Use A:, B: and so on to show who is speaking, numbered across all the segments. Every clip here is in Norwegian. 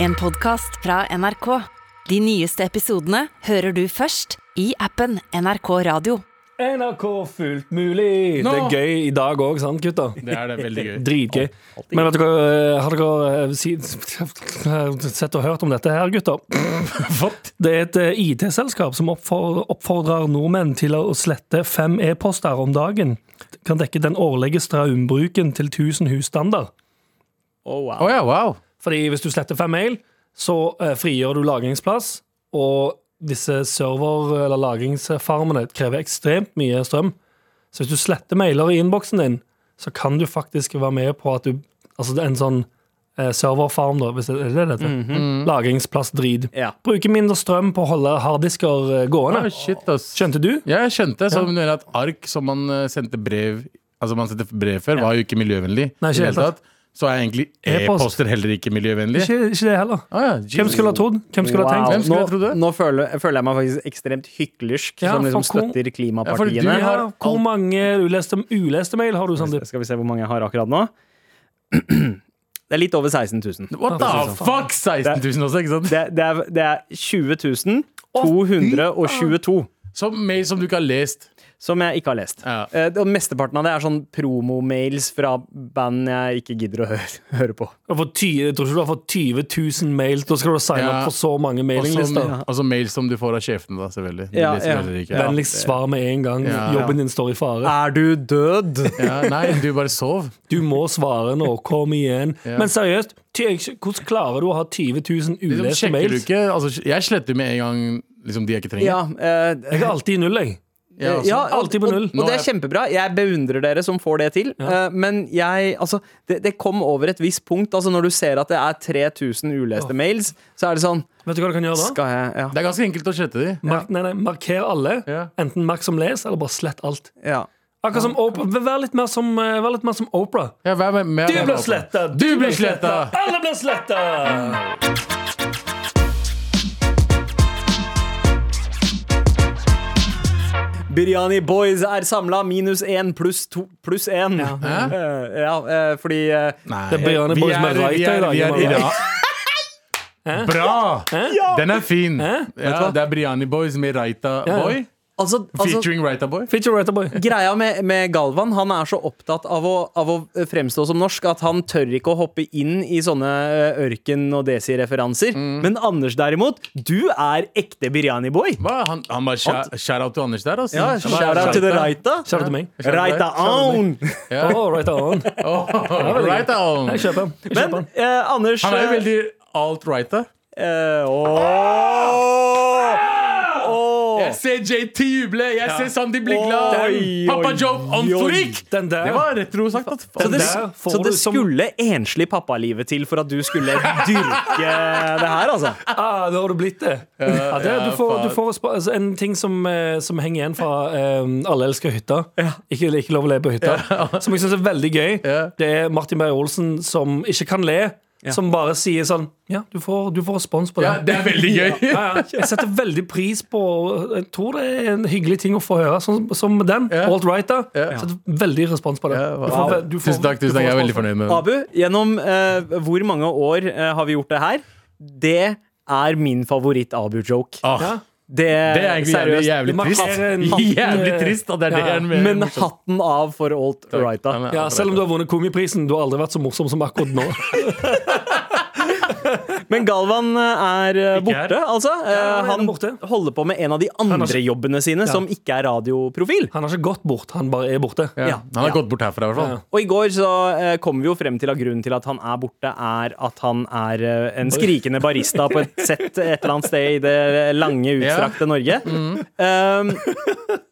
A: En podcast fra NRK. De nyeste episodene hører du først i appen NRK Radio.
B: NRK fullt mulig.
C: Nå!
B: Det er gøy i dag òg, sant, gutta?
C: Det er det veldig gøy.
B: Dritgøy. Men vet dere, eh, har dere eh, si- sett og hørt om dette her, gutter? Det er et eh, IT-selskap som oppfor- oppfordrer nordmenn til å slette fem e-poster om dagen. Kan dekke den årlige strømbruken til 1000 husstander.
C: Å ja, Oh, wow.
B: Fordi hvis du sletter fem mail, så eh, frigjør du lagringsplass, og disse server- eller lagringsfarmene krever ekstremt mye strøm. Så hvis du sletter mailer i innboksen din, så kan du faktisk være med på at du Altså det er en sånn eh, serverfarm, da, hvis det er det det heter. Lagringsplassdrit.
D: Mhm. Ja.
B: Bruker mindre strøm på å holde harddisker eh, gående.
C: Ah, shit, ass.
B: Skjønte du?
C: Ja, jeg skjønte. Så du mener at ark som man eh, sendte brev Altså man sendte brev før, var jo ikke miljøvennlig.
B: Nei, ikke
C: i det
B: helt
C: hele tatt. Så er egentlig
B: E-post.
C: e-poster heller ikke miljøvennlig.
B: Ikke, ikke det heller.
C: Ah, ja.
B: Hvem skulle ha trodd? Hvem skulle ha
D: Wow.
B: tenkt?
C: Hvem skulle
D: nå,
C: jeg tro det?
D: Nå føler, føler jeg meg faktisk ekstremt hyklersk,
B: Ja,
D: som liksom
B: for hvor-
D: støtter
C: Ja, for du-
D: klimapartiene.
B: Ja, hvor mange uleste, uleste mail har du, Sandeep?
D: Skal vi se hvor mange jeg har akkurat nå. Det er litt over 16 000.
C: What the fuck? 16 000 også, ikke sant?
D: Det, det, er, det er 20 222
C: Som mail som du ikke har lest.
D: som jeg ikke har lest.
C: Ja.
D: Eh, Og mesteparten av det er sånn promomails fra band jeg ikke gidder å høre, høre på.
B: Du har fått 20, jeg tror ikke du har fått 20 00 mail. Da skal du signe
C: Ja.
B: opp for så mange
C: Og
B: mailinglister.
C: som- og så mail som du får av sjefene, da, selvfølgelig. De
D: Ja,
C: leser
D: ja.
C: heller ikke.
D: Ja.
B: Vennligst svar med en gang.
C: Ja.
B: Jobben din står i fare.
D: Er du død?
C: Ja, nei, du bare sov.
B: Du må svare nå. Kom igjen.
C: Ja.
B: Men seriøst, ty- hvordan klarer du å ha 20 000
C: Liksom,
B: uleste
C: sjekker du
B: mails?
C: ikke? Altså, jeg sletter med en gang liksom, de jeg ikke trenger. altså.
D: Ja. eh,
B: Jeg er alltid i null, jeg.
C: Jeg også.
D: Ja, og-
B: Alltid på null.
D: Og, og det er kjempebra. Jeg beundrer dere som får det til. Eh, men jeg Altså, det, det kom over et visst punkt. Altså, når du ser at det er 3000 uleste mails, så er det sånn
B: Vet du hva du kan gjøre da?
D: Skal jeg Ja.
C: Det er ganske enkelt å slette de.
B: Mark, nei, nei, marker alle.
C: Ja.
B: Enten merk som les, eller bare slett alt.
D: ja.
B: Akkurat som Oprah. Vær litt mer som, eh, vær litt mer som Oprah.
C: Ja, vær med, med,
B: Du
C: med-
B: blir sletta!
C: Du blir sletta!
B: Alle blir sletta!
D: Biryani Boys er samla. Minus én pluss to pluss én. Ja.
C: Hæ?
D: ja, eh, fordi eh,
C: Nei.
B: Det er Brianne
C: Vi
B: Boys
C: er-
B: med
C: vi er-
B: Raita i dag,
C: vi er
B: Jamal.
C: Irak. Bra! Den er fin. Ja, det er Briani Boys med Raita
B: ja.
C: Boy.
D: Altså, altså
C: Featuring Raita Boy.
B: Feature writer boy.
D: Greia med, med Galvan, han er så opptatt av å, av å fremstå som norsk at han tør ikke å hoppe inn i sånne eh, ørken- og desi-referanser. Men Anders derimot, du er ekte biryani-boy.
C: Hva? Han, han bare shout- shout-out til Anders der, altså.
D: Ja,
C: Han bare-
D: Shout-out til the Raita.
B: Kjære til meg.
C: Shout-out til
D: Raita
C: deg.
D: on!
C: Ja.
B: Oh, right on.
C: Oh, Raita on.
B: Jeg kjøper den. Jeg kjøper
D: Men
B: den.
D: eh, Anders
C: Han er jo
D: eh,
C: veldig alt Raita.
D: eh, åh! Åh!
C: Jeg ser JT juble, jeg ser Sandy bli glad.
D: Oi,
C: Pappa
D: oi,
C: Joe on
D: oi.
C: flick!
B: Den der.
C: Det var retro sagt. at-
D: Så det,
B: der får
D: så det
B: du som-
D: skulle enslig pappalivet til for at du skulle dyrke det her, altså?
B: Ah, da har du blitt det. Ja, det
C: ja,
B: du får, du
C: faen.
B: får spa- altså, en ting som, eh, som henger igjen fra eh, Alle elsker hytta. Ikke, ikke lov å le på hytta. Som jeg syns er veldig gøy.
C: Ja.
B: Det er Martin Beyer-Olsen som ikke kan le. Som bare sier sånn Ja, du får, du får respons på det.
C: Ja, det er veldig gøy.
B: Ja, ja. Jeg setter veldig pris på Jeg tror det er en hyggelig ting å få høre, sånn som den.
C: Ja.
B: Alt right, da.
C: Ja.
B: Setter veldig respons på det.
C: Ja,
B: Du får-
C: wow.
B: du får-
C: Tusen takk,
B: du får
C: tusen takk. Jeg er
B: respons
C: veldig
B: på det.
C: fornøyd med den.
D: Abu, gjennom eh, hvor mange år eh, har vi gjort det her? Det er min favoritt-Abu-joke.
C: Ah,
B: Ja.
D: Det,
C: Det er egentlig jævlig,
D: seriøst.
C: jævlig
B: Det markerer
C: trist.
B: en hatten,
C: Jævlig
B: eh,
C: trist at det er det
B: ja,
C: han mener.
D: Men hatten av for alt right,
C: Han
D: da.
C: er-
B: Ja,
C: han er
B: selv om du
C: right.
B: har vunnet Komiprisen, du har aldri vært så morsom som akkurat nå.
D: Men Galvan eh, er eh,
C: Ikke her.
D: borte, altså. Eh,
B: Ja, han er
D: han
B: borte.
D: holder på med en av de andre jobbene sine som ikke er radioprofil.
B: Han har ikke gått bort, han bare er borte.
C: Ja.
D: Ja.
C: Han har
D: Ja.
C: gått bort herfra, i hvert fall.
B: Ja.
D: Og i går så eh, kom vi jo frem til at grunnen til at han er borte, er at han er eh, en skrikende barista på et sett et eller annet sted i det lange, utstrakte Norge.
B: Mm.
D: Um,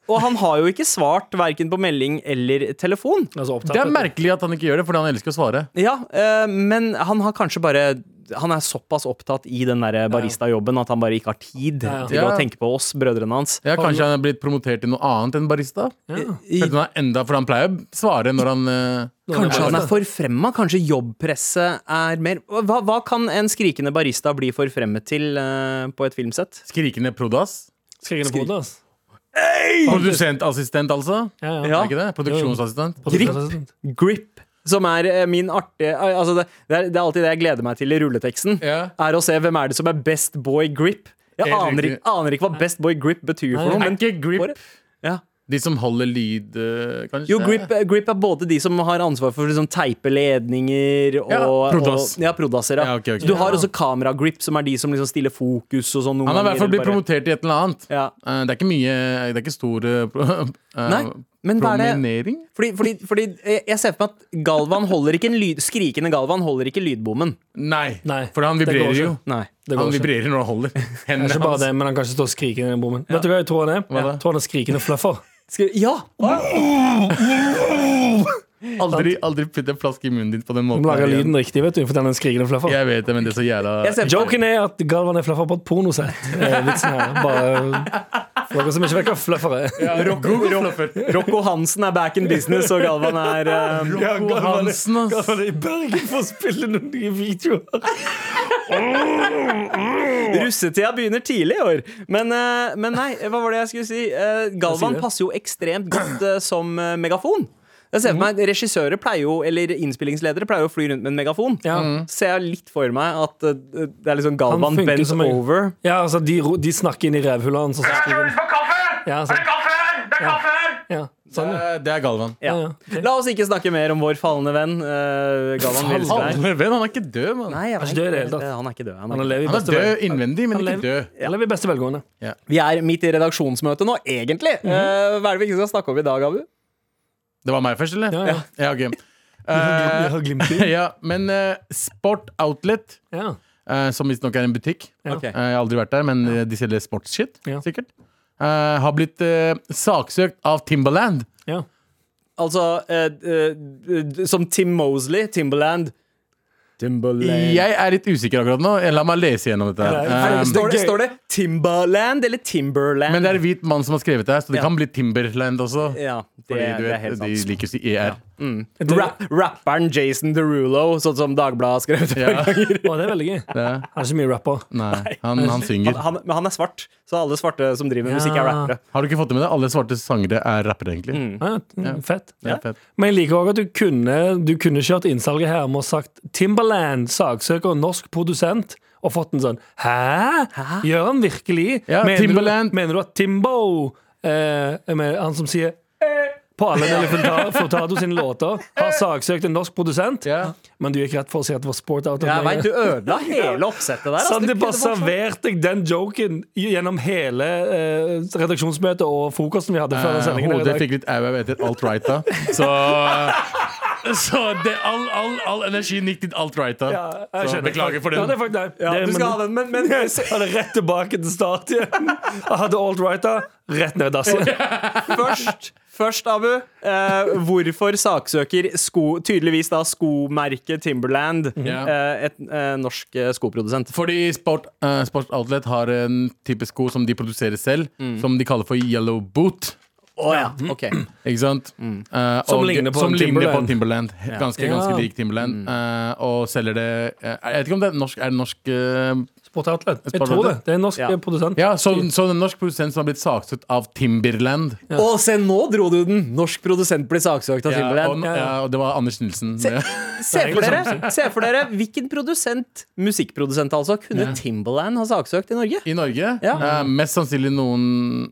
D: og han har jo ikke svart verken på melding eller telefon.
B: Altså opptatt,
C: Det
B: vet
C: er
B: du.
C: merkelig at han ikke gjør det, fordi han elsker å svare.
D: Ja, eh, men han har kanskje bare Han er såpass opptatt i den der barista-jobben at han bare ikke har tid
B: Ja.
D: til
C: Ja.
D: å tenke på oss, brødrene hans.
C: Ja, Kanskje han er blitt promotert til noe annet enn barista?
D: I-
C: Følte han er enda, For han pleier å svare når han eh,
D: Kanskje han er
B: barista.
D: forfremma? Kanskje jobbpresset er mer hva, hva kan en skrikende barista bli forfremmet til eh, på et filmsett?
C: Skrikende prodas.
B: Skrikende på hodet, ass.
C: Produsentassistent, altså.
B: Ja, ja.
D: Ja.
C: Er ikke det? Produksjonsassistent.
B: Produsentassistent.
D: Grip. som er eh, min artige altså det, det, er, det er alltid det jeg gleder meg til i rulleteksten.
C: Ja.
D: Er å se hvem er det som er best boy grip. Jeg
C: Helt
D: aner,
C: riktig.
D: ikke- aner ikke hva best boy grip betyr for noe.
C: Er
D: Men
C: ikke grip
D: Bare- ja.
C: de som holder lyd, eh, kanskje?
D: Jo, grip, grip er både de som har ansvar for å liksom, teipe ledninger og
C: Ja, prodass.
D: og- Ja, prodasser. Ja.
C: Ja, ok, ok.
D: Så Du har også kameragrip, som er de som liksom stiller fokus og sånn. noen
C: Han har i hvert
D: ganger,
C: fall blitt
D: eller bare-
C: promotert i et eller annet.
D: Ja.
C: Eh, Det er ikke mye Det er ikke stor eh, pro, eh,
D: Nei, men hva er det-
C: promenering.
D: Fordi, fordi, fordi jeg jeg ser for meg at Galvan holder ikke en lyd, skrikende Galvan holder ikke lydbommen.
C: Nei,
B: Nei,
C: for han
B: det går
C: vibrerer
B: ikke.
C: jo.
D: Nei.
B: Det går
C: Han
B: ikke.
C: vibrerer når han holder
B: Det er
C: hendene
B: ikke bare
C: hans.
B: det, men han kan ikke stå og skrike i den bommen. Vet du hva jeg tror han er?
C: Hva da?
B: Jeg tror han er skrikende fluffer.
D: Skri ja!
C: Aldri, aldri putt en flaske i munnen din på den
B: Han
C: måten.
B: lager
C: her igjen.
B: lyden riktig, vet du, fordi han er en skrikende fluffer.
C: Jeg vet det, men det er så jævla
D: Jeg ser for meg
B: Joken er at Galvan er fluffer på et pornosett. Eh, Vitsen her. Bare for dere som ikke vet hva fluffer er.
C: Ja, Rocco Fluffer.
D: Rocco Hansen er back in business, og Galvan er eh,
C: Rocco Hansen, ass.
B: Galvan er i Bergen for å spille noen nye videoer.
D: Russetida begynner tidlig i år. Men, eh, men nei, hva var det jeg skulle si? Eh,
B: Jeg sier
D: Galvan
B: det.
D: passer jo ekstremt godt eh, som eh, megafon. Jeg ser for meg, Regissører pleier jo, eller innspillingsledere pleier jo å fly rundt med en megafon.
B: Ja.
D: Ser jeg litt for meg at eh, det er liksom Galvan
B: Han funker
D: bends
B: som en-
D: over.
B: Ja, altså, de, ro- de snakker inn i revhullet hans. og så skriver han- Ja, sånn. Ja, sånn, ja.
C: Det er Galvan.
D: Ja.
B: Ja, ja.
D: La oss ikke snakke mer om vår falne venn. eh, Galvan, vi elsker deg.
C: Halve venn, han er ikke død, mann.
D: Nei,
B: Han er
D: jeg vet
B: ikke død i Sånn. det
D: ikke.
B: hele tatt.
D: Han er ikke død.
B: Han
D: Han er ikke død.
B: lever i
C: Han er
B: beste vel-
C: død innvendig, men
B: Han
C: ikke
B: lever-
C: død.
B: han lever i beste velgående.
D: Vi er midt i redaksjonsmøtet nå, egentlig. Eh, hva er det vi ikke skal snakke om i dag, Abu?
C: Det var meg først, eller?
B: Ja, ja.
C: Ja, ok. Eh,
B: har glimt
C: ja, men eh, Sport Outlet,
B: Ja.
C: eh, som visstnok er en butikk
B: Ja.
C: Eh, Jeg har aldri vært der, men eh, de selger sportsshit,
B: Ja.
C: sikkert. Eh, har blitt eh, saksøkt av Timbaland.
B: ja.
D: Altså, eh, eh, d- som Tim Mosley, Timberland. Timberland.
C: Jeg er litt usikker akkurat nå. La meg lese gjennom dette. her.
B: Ja, det er-
C: Eh,
D: står, det,
B: gøy.
D: står det Timberland eller Timberland?
C: men det er en hvit mann som har skrevet det her, så det
D: Ja.
C: kan bli Timberland også.
D: ja, det,
C: Fordi du
D: det er
C: vet,
D: helt
C: de
D: sant.
C: liker å si E ER.
D: Ra rapperen Jason Derulo, sånn som Dagbladet skrev det.
C: Ja.
B: Å, det er veldig gøy.
C: Det,
B: Han er ikke mye rapper.
C: nei, han, han
D: Han,
C: synger.
D: han, men han er svart, så alle svarte som driver med musikk, er
B: Ja.
D: rappere.
C: Har du ikke fått det med deg? Alle svarte sangere er rappere, egentlig.
B: Ja, mm, fett.
C: Ja, fett.
B: Men jeg liker òg at du kunne, du kunne kjørt innsalget her med å sagt Timberland saksøker norsk produsent, og fått en sånn Hæ? Gjør han virkelig?
C: Ja, Timbaland.
B: Du, mener du at Timbo, eh, med han som sier eh, på alle Nelly Furtado- Furtado sine låter, har saksøkt en norsk produsent?
C: Ja.
B: Men du gikk rett for å si at det var sport out.
D: Jeg vet, du altså, ødela hele oppsettet der. ass.
B: Sånn,
D: Du
B: det bare
D: kunne bare-
B: serverte jeg den joken gjennom hele eh, redaksjonsmøtet og frokosten vi hadde før den
C: Eh,
B: sendingen. her i
C: Hodet
B: dag.
C: fikk litt au-au etter alt-righta. Så, eh, så det, all, all, all energien gikk til alt-righta.
B: Ja, jeg
C: Så
B: skjønner.
C: beklager for
B: Ja, det
C: den.
B: er faktisk, nei.
D: Ja,
B: det,
D: du skal ha den, men, men
B: Jeg hadde rett tilbake til start igjen. Jeg hadde alt righta, rett ned i dass igjen.
D: først, først Abu. Eh, hvorfor saksøker sko, tydeligvis da skomerket Timberland
C: Mhm. Ja.
D: eh, et eh, norsk eh, skoprodusent?
C: Fordi sport, eh, Sport Outlet har en type sko som de produserer selv, som de kaller for yellow boot.
D: Å ja, ok
C: Ikke sant? Eh,
B: Som
C: og-
B: ligner på
C: som
B: en
C: ligner på en
B: Timberland.
C: Timberland. Ganske, ganske
B: Ja.
C: lik Timberland. Eh, og selger det eh, Jeg vet ikke om det er norsk. Er det norsk eh,
B: Sport Outlet. Jeg
C: Sport
B: tror det.
C: Outlet.
B: Det er en norsk
D: Ja.
B: eh, produsent.
C: Ja, så, så en norsk produsent som har blitt saksøkt av Timberland.
D: Å, se, nå dro du den! Norsk produsent blir saksøkt av
C: Ja, og,
D: Timberland.
B: Ja, ja.
C: ja, og det var Anders Nilsen.
D: Se
B: Det er
D: for,
B: egentlig
D: dere, se for dere hvilken produsent, musikkprodusent altså, kunne Timberland ha saksøkt i Norge?
C: I Norge?
D: Ja.
C: Eh, mest sannsynlig noen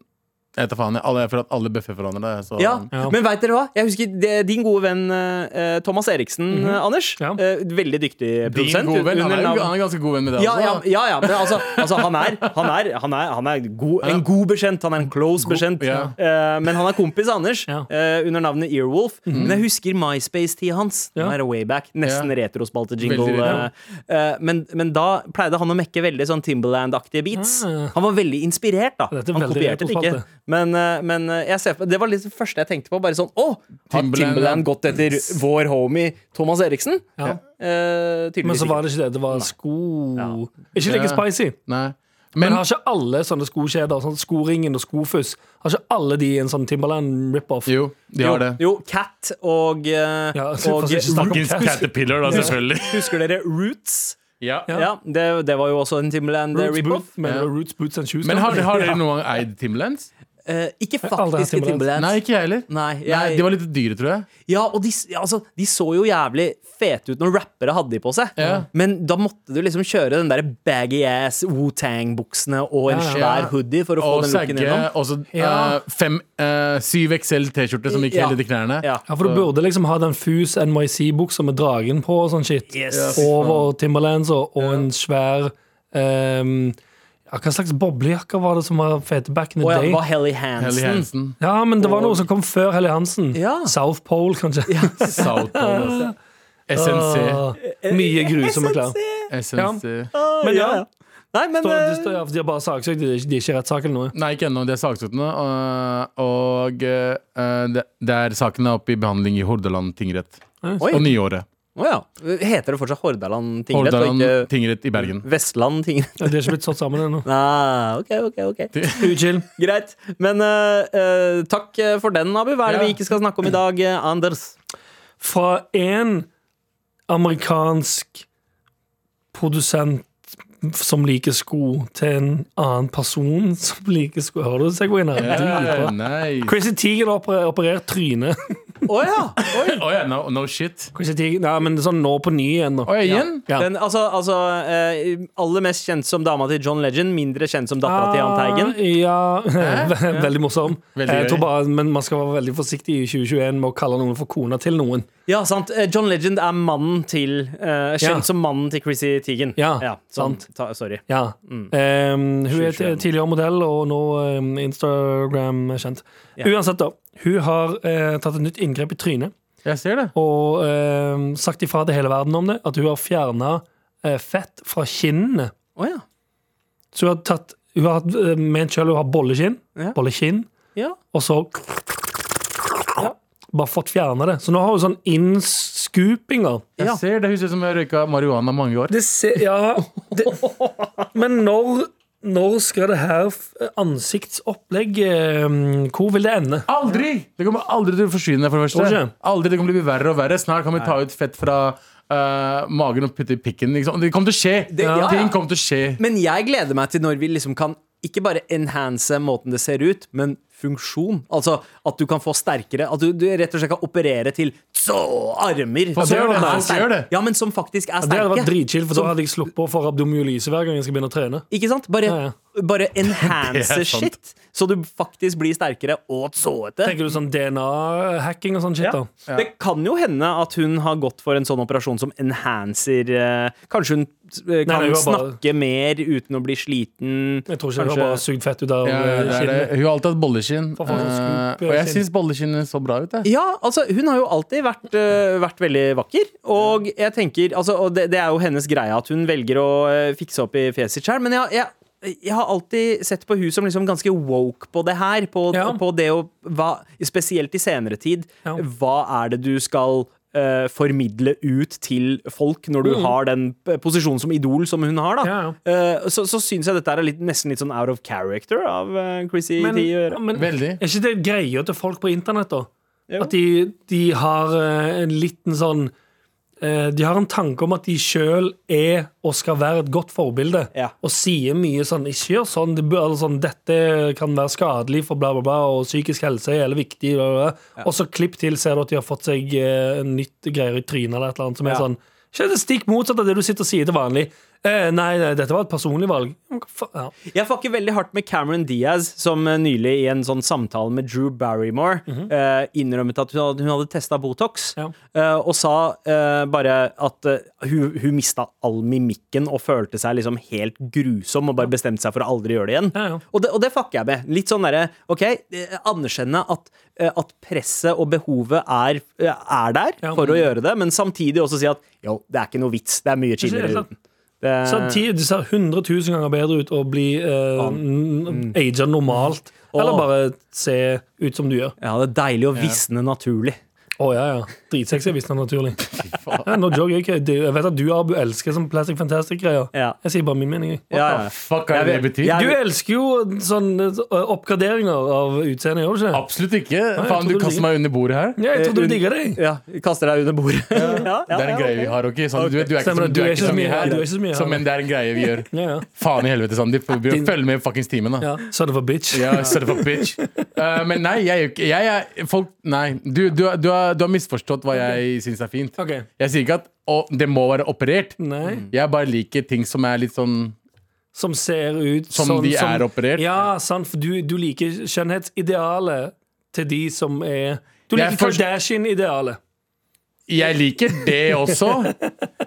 C: Jeg vet da faen. jeg- Alle, jeg føler at alle bøffer forandrer det. Så.
D: Ja,
B: Ja.
D: Men veit dere hva? Jeg husker det, Din gode venn eh, Thomas Eriksen, eh, Anders.
B: Ja.
D: Eh, veldig dyktig
C: Mhm. Din
D: produsent.
C: gode venn, han,
D: under
C: er, jo-
D: navn-
C: han er ganske god venn med deg
D: Ja,
C: også.
D: ja,
C: da.
D: ja, ja. Men altså, altså han er, han er, han er, han er god, en god bekjent. Han er en close bekjent.
C: ja.
D: Eh, men han er kompis av Anders,
B: Ja. Mhm.
D: eh, under navnet Earwolf. Men jeg husker MySpace-tida hans. Den
B: Ja.
D: er way back. Nesten retrospalte-jingle.
C: Veldig retro.
D: eh, eh, men, men da pleide han å mekke veldig sånn Timberland-aktige beats.
B: Ah.
D: Han var veldig inspirert, da.
B: Dette er
D: Han
B: veldig
D: kopierte det
B: retrospalte.
D: ikke. Men, eh, men eh, jeg ser, på- det var liksom det første jeg tenkte på. Bare sånn Å! Har
C: Timberland-
D: Timberland gått etter vår homie Thomas Eriksen?
B: Ja.
D: Eh, tydeligvis
B: Men så
D: ikke.
B: var det ikke det. Det var sko.
D: Ja.
B: Ikke like
C: Ja.
B: spicy.
C: Nei.
B: Men har ikke alle sånne skokjeder, sånn Skoringen og Skofuss, har ikke alle de en sånn Timberland rip-off?
C: Jo, de har det.
D: Jo, Cat og, eh,
B: Ja, så for
D: og
B: å ikke snakke om
C: Fuckings
B: Cat.
C: Caterpillar, da, selvfølgelig.
D: Husker dere Roots?
C: Ja.
D: Ja, det, det var jo også en Timberland eh,
B: Roots
D: rip-off.
B: Boots, mener
C: Ja.
B: du Roots Boots and Shoes?
C: Men har,
B: Company?
C: har dere
B: Ja.
C: noen gang eid Timberlands?
D: eh, ikke
B: har aldri hatt
D: faktiske
B: Timberlands.
D: Timberlands.
C: Nei, ikke jeg heller.
D: Nei, jeg,
C: Nei, De var litt dyre, tror jeg.
D: Ja, og de, s- ja, altså, de så jo jævlig fete ut når rappere hadde de på seg.
C: Ja.
D: Men da måtte du liksom kjøre den der baggy ass Wu-Tang-buksene og en
B: Ja, ja.
D: svær hoodie for å få
C: Og
D: den looken
C: sagge.
D: gjennom.
C: Og så
B: Ja.
C: eh, fem, eh, syv XL T-skjorte som gikk
D: Ja.
C: helt i de knærne.
D: Ja.
B: Ja, for du burde liksom ha den Fuse NYC-buksa med dragen på og sånn shit.
D: Yes.
B: Over Timberlands og, og en svær ehm, ja, Hva slags boblejakke var det som var fete back in the
D: Og ja, det
B: day?
D: var Helly Hansen.
C: Helly Hansen.
B: Ja, men det var noe som kom før Helly Hansen.
D: Ja.
B: South Pole, kanskje.
C: South Pole, altså. SNC.
B: Åh, mye grusomme klær.
C: SNC.
B: Men ja,
D: Nei, men
B: står- det
D: eh,
B: står- ja, for de har bare saksøkt, de er ikke- de er ikke i rettssak eller noe.
C: Nei, ikke ennå. Det er saksøkende. øh, Og øh, det, det er saken er oppe i behandling i Hordaland tingrett.
D: Oi.
C: Og nyåret.
D: Å ja. Heter det fortsatt Hordaland tingrett og
C: Hordaland
D: ikke
C: tingrett i Bergen.
D: Vestland tingrett?
B: Ja, De er ikke blitt satt sammen ennå.
D: Nei, ok, ok, ok.
B: Uchill.
D: Greit. Men eh, eh, takk eh, for den, Abu. Hva er det
C: Ja.
D: vi ikke skal snakke om i dag, eh, Anders?
B: Fra en amerikansk produsent som liker sko, til en annen person som liker sko. Hører du segwayen her?
C: Ja,
B: Dritbra.
C: Nei.
B: Chrissy Teigen har operer- operert trynet.
D: Å ja!
C: Oi, oi, no, no shit.
B: Chrissy Teigen, nei, men sånn nå på ny igjen nå.
C: Oi, igjen?
B: Ja.
D: Den, altså, altså eh, Aller mest kjent som dama til John Legend, mindre kjent som dattera til Jahn Teigen.
B: Ah, Ja, ve- veldig morsom.
C: Veldig
B: jeg
C: gøy.
B: tror bare, men man skal være veldig forsiktig i 2021 med å kalle noen for kona til noen.
D: Ja, sant. Eh, John Legend er mannen til eh,
B: Ja.
D: Kjent som mannen til Chrissy Teigen.
B: Ja,
D: sånn. Ta, sorry.
B: Ja.
D: Mm.
B: Ehm, hun er
D: 2021.
B: tidligere modell og nå ehm, Instagram-kjent.
D: Ja.
B: Uansett, da. Hun har eh, tatt et nytt inngrep i trynet
C: Jeg ser det.
B: og ehm, sagt ifra til hele verden om det. At hun har fjerna fett fra kinnene.
D: Å ja.
B: Så hun har tatt Hun har hatt, eh, ment sjøl hun har bollekinn,
D: Ja.
B: bollekinn,
D: ja.
B: og så Bare fått fjerna det. Så nå har hun sånn innskupinger.
C: Jeg
D: Ja.
C: ser det. Hun ser ut som jeg røyka marihuana mange år.
B: Det ser, ja det, Men når, når skal det her f- ansiktsopplegg eh, Hvor vil det ende?
C: Aldri! Det kommer aldri til å forsvinne. for det
B: Tror
C: første
B: ikke.
C: Aldri, Det kommer til å bli verre og verre. Snart kan vi ta ut fett fra øh, magen og putte i pikken. Liksom. Det kommer til å skje.
D: Det- ja, ja.
C: Ting kommer til å skje.
D: Men jeg gleder meg til når vi liksom kan ikke bare enhance måten det ser ut, men funksjon. Altså at du kan få sterkere At du, du rett og slett kan operere til så armer.
C: Folk
D: Som
C: gjør det,
D: er
C: folk
D: sterke.
C: gjør det.
D: Ja, men som faktisk er
B: Det
D: sterke.
B: hadde vært dritchill, for da hadde jeg sluppet å få rabdomyolyse hver gang jeg skal begynne å trene.
D: Ikke sant? Bare,
B: Ja,
D: bare
C: Det
D: enhance
C: er sant.
D: shit, så du faktisk blir sterkere og såete.
B: Tenker du sånn DNA-hacking og sånn shit, da?
D: Det kan jo hende at hun har gått for en sånn operasjon som enhancer eh, Kanskje hun eh, kan
B: nei, hun har bare-
D: snakke mer uten å bli sliten.
B: Jeg tror ikke du har
D: Kanskje-
B: bare sugd fett ut av
C: Ja,
B: eh,
C: det er det.
B: kinnet.
C: Hun har alltid hatt bolleskinn.
B: For faen,
C: eh,
B: scoop,
C: og jeg
B: skinn.
C: syns bolleskinnene så bra ut. Jeg.
D: Ja, altså, hun har jo alltid vært, eh, vært veldig vakker. Og jeg tenker, altså, og det, det er jo hennes greie at hun velger å eh, fikse opp i fjeset sitt sjøl, men jeg, jeg jeg har alltid sett på hun som liksom ganske woke på det her. På,
B: Ja.
D: på det å hva, Spesielt i senere tid.
B: Ja.
D: Hva er det du skal eh, formidle ut til folk når du har den p- posisjonen som idol som hun har, da?
B: Mm. Ja, ja.
D: Eh, så så syns jeg dette er litt, nesten litt sånn out of character av eh, Chrissy
B: Men,
D: Tee å gjøre.
B: men er
C: Veldig.
B: ikke det greia til folk på internett, da?
D: Jo.
B: At de, de har eh, en liten sånn eh, De har en tanke om at de sjøl er og skal være et godt forbilde.
D: Ja.
B: Og sier mye sånn 'ikke gjør sånn', det bør, eller sånn 'dette kan være skadelig for bla, bla, bla', og 'psykisk helse er jævlig viktig', bla, bla, bla. og så klipp til ser du at de har fått seg eh, en nytt greier i trynet eller et eller annet som
D: Ja.
B: er sånn Ikke det stikk motsatt av det du sitter og sier til vanlig. Eh, nei, nei, dette var et personlig valg. Men hva faen- Ja.
D: Jeg fucker veldig hardt med Cameron Diaz, som eh, nylig i en sånn samtale med Drew Barrymore eh, innrømmet at hun hadde, hun hadde testa Botox,
B: Mhm. Ja.
D: eh, og sa eh, bare at eh, hun, hun mista all mimikken og følte seg liksom helt grusom og bare bestemte seg for å aldri gjøre det igjen.
B: Ja, ja.
D: Og, det, og det fucker jeg med. Litt sånn derre OK, eh, anerkjenne at, eh, at presset og behovet er, eh, er der
B: Ja.
D: for å gjøre det, men samtidig også si at jo, det er ikke noe vits. Det er mye
B: helt
D: chillere
B: sant.
D: uten. Det-
B: Så ti- det ser 100 000 ganger bedre ut å bli eh, n- aga normalt,
D: Ah. Åh.
B: eller bare se ut som du gjør.
D: Ja, det er deilig å visne naturlig.
B: Å ja, ja. Dritsexy hvis det er naturlig. Ja, no joke, jeg, ikke- jeg vet at du Abu, elsker sånn Plastic Fantastic-greier.
D: Ja.
B: Jeg sier bare min mening. jeg.
D: Ja, ja.
C: Fuck, hva er det det betyr?
D: Jeg
B: Du
D: vil-
B: elsker jo sånn eh, oppgraderinger av utseendet, gjør du ikke?
C: Absolutt ikke.
B: jeg
C: Faen,
B: trodde
C: du
B: du
C: kaster meg under bordet her.
B: Ja, jeg trodde du
D: Eh,
B: digga deg.
D: Ja, kaster deg under bordet. Ja,
C: Det er
D: ja,
C: en greie vi har, ok? Sånn, du, vet, du er ikke,
B: Stemmer
C: så-
B: det,
C: du er ikke så mye her,
B: du er ikke så mye her.
C: Så, men det er en greie vi gjør.
B: Ja, ja.
C: Faen i helvete, Sandeep.
B: Din-
C: Følg med i fuckings timen, da.
B: ja. Son of a bitch.
C: Ja, son of a bitch. Eh, men nei, jeg, er jo ikke- jeg er folk, Nei, du, du, har- du, har, du har misforstått hva jeg syns er fint.
B: Ok.
C: Jeg sier ikke at å, det må være operert.
B: Nei.
C: Jeg bare liker ting som er litt sånn
B: Som ser ut sånn
C: Som de er operert?
B: Ja, sant, for du, du liker skjønnhetsidealet til de som er Du
C: Jeg
B: liker
C: forst-
B: Kardashian-idealet.
C: Jeg liker det også,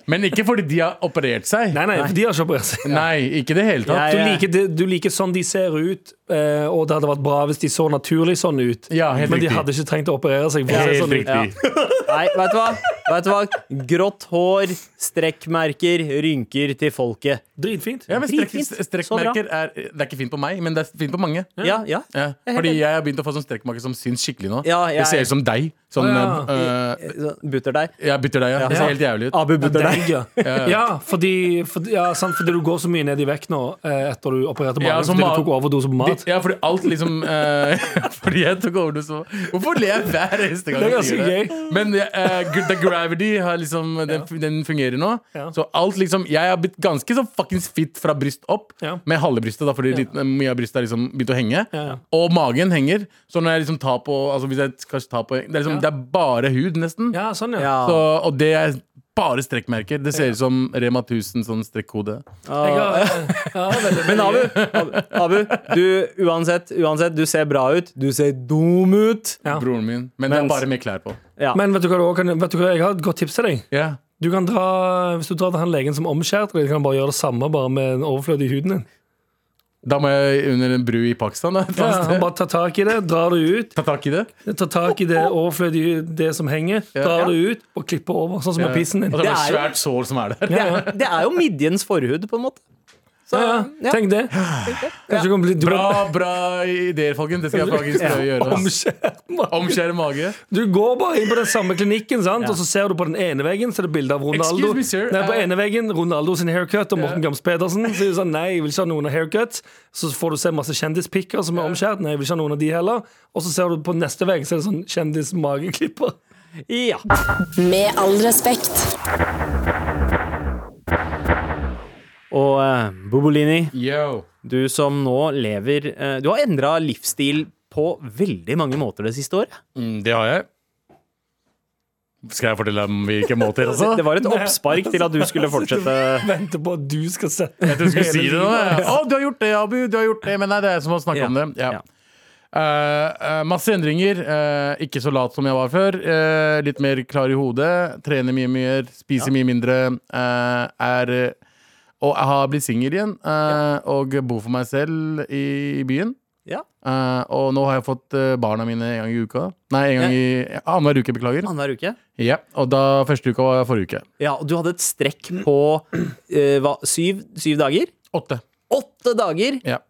C: men ikke fordi de har operert seg.
B: Nei, nei, for de har ikke operert seg.
C: Nei, ikke i det hele tatt.
B: Du
D: Jeg-
B: liker, det- du liker sånn de ser ut, eh, og det hadde vært bra hvis de så naturlig sånn ut.
C: Ja, helt
B: Men de
C: riktig.
B: hadde ikke trengt å operere seg. For å se
C: Helt
B: sånn ut.
C: riktig.
D: Nei, vet du hva? Vet du hva? Grått hår, strekkmerker, rynker til folket.
B: Dritfint.
C: Ja, men strekk,
D: Dritfint.
C: strekkmerker er Det er ikke fint på meg, men det er fint på mange.
D: Ja, ja.
C: Ja. Fordi jeg har begynt å få sånn strekkmerker som syns skikkelig nå.
D: Ja, jeg-
C: Det ser ut som deg. Sånn
B: Ja.
C: øh, øh,
D: Så Butter deg.
C: Jeg bytter deg, ja. Det ser helt jævlig ut.
D: Abu butter deg.
B: Deg, ja. ja, fordi, fordi, ja sant, fordi du går så mye ned i vekt nå eh, etter du opererte magen
C: Ja, så
B: fordi
C: ma-
B: du tok overdose på mat.
C: Ja, fordi alt liksom øh, Fordi jeg tok overdose på- Hvorfor ler jeg hver eneste gang
B: Det er
C: jeg sier
B: ganske
C: det? Men øh, gu- the gravity har liksom den, den fungerer nå.
B: Ja.
C: Så alt liksom Jeg har blitt ganske så fuckings fit fra bryst opp,
B: Ja.
C: med halve brystet, da, fordi litt, mye av brystet har liksom begynt å henge.
B: Ja, ja.
C: Og magen henger. Så når jeg liksom tar på Altså hvis jeg skal ta på Det er, liksom, det er bare hud, nesten.
B: Ja, sånn, ja.
D: Ja.
C: Så, og det er bare strekkmerker. Det ser ut som Rema 1000 sånn strekkode.
B: Jeg har, ja, veldig,
D: Men Abu, Abu, Abu du, uansett, uansett, du ser bra ut. Du ser dum ut.
B: Ja.
C: Broren min. Men det er
D: Mens-
C: bare med klær på.
D: Ja.
B: Men vet du hva du også kan Vet du hva, jeg har et godt tips til deg.
C: Ja.
B: Du kan dra, Hvis du drar til han legen som omskjærte deg, du kan bare gjøre det samme bare med en overflødig i huden din.
C: Da må jeg under en bru i Pakistan. Da. et
B: Ja,
C: eller annet
B: han
C: sted.
B: bare tar tak i det, drar det ut.
C: Ta tak i det.
B: Tar tak i det overflødige det som henger, drar det ut og klipper over. Sånn som med pissen
C: Og
B: din.
C: så er det
D: Det
C: et
D: er jo-
C: svært sår som er der.
D: Det er, det er jo midjens forhud, på en måte. Så,
B: Ja,
D: ja.
B: tenk det. Kanskje du kan bli du kan-
C: Bra bra ideer, folkens. Det skal jeg faktisk prøve å gjøre. ass.
B: Omskjært, mann.
C: Omskjære mage.
B: Du går bare inn på den samme klinikken, sant? og så ser du på den ene veggen Så er det bilde av Ronaldo.
C: Excuse me, sir.
B: Nei, på
C: Eh,
B: ene veggen Ronaldo sin haircut og Morten Gams Pedersen. Så sier du sånn, nei, jeg vil ikke ha noen av haircuts Så får du se masse kjendispikker som er omskjært. Nei, jeg vil ikke ha noen av de heller Og så ser du på neste vegg, så er det sånn kjendismageklipper.
D: ja.
E: Med all respekt.
D: Og eh, Bobolini,
C: Yo.
D: du som nå lever eh, Du har endra livsstil på veldig mange måter det siste året.
C: Mm, det har jeg. Skal jeg fortelle om hvilke måter, altså?
D: Det var et oppspark til at du skulle fortsette.
B: Venter på at du skal sette
C: Jeg skulle si det nå.
B: ja.
C: jeg. Å, du har gjort det, Abu! Du har gjort det. Men nei, det er jeg som har snakket
D: Ja.
C: om det. Ja.
D: Ja.
C: Eh, eh, masse endringer. eh, ikke så lat som jeg var før. eh, litt mer klar i hodet. Trener mye mer, spiser mye mindre. eh, er eh, Og jeg har blitt singel igjen. eh, Og bor for meg selv i, i byen.
D: Ja.
C: Eh, og nå har jeg fått eh, barna mine en gang i uka. Nei, en gang i annenhver uke, beklager.
D: Annenhver uke.
C: Ja, og da første uka var forrige uke.
D: Ja, og du hadde et strekk på eh, hva, syv, syv dager?
C: Åtte.
D: Åtte dager!
C: Ja.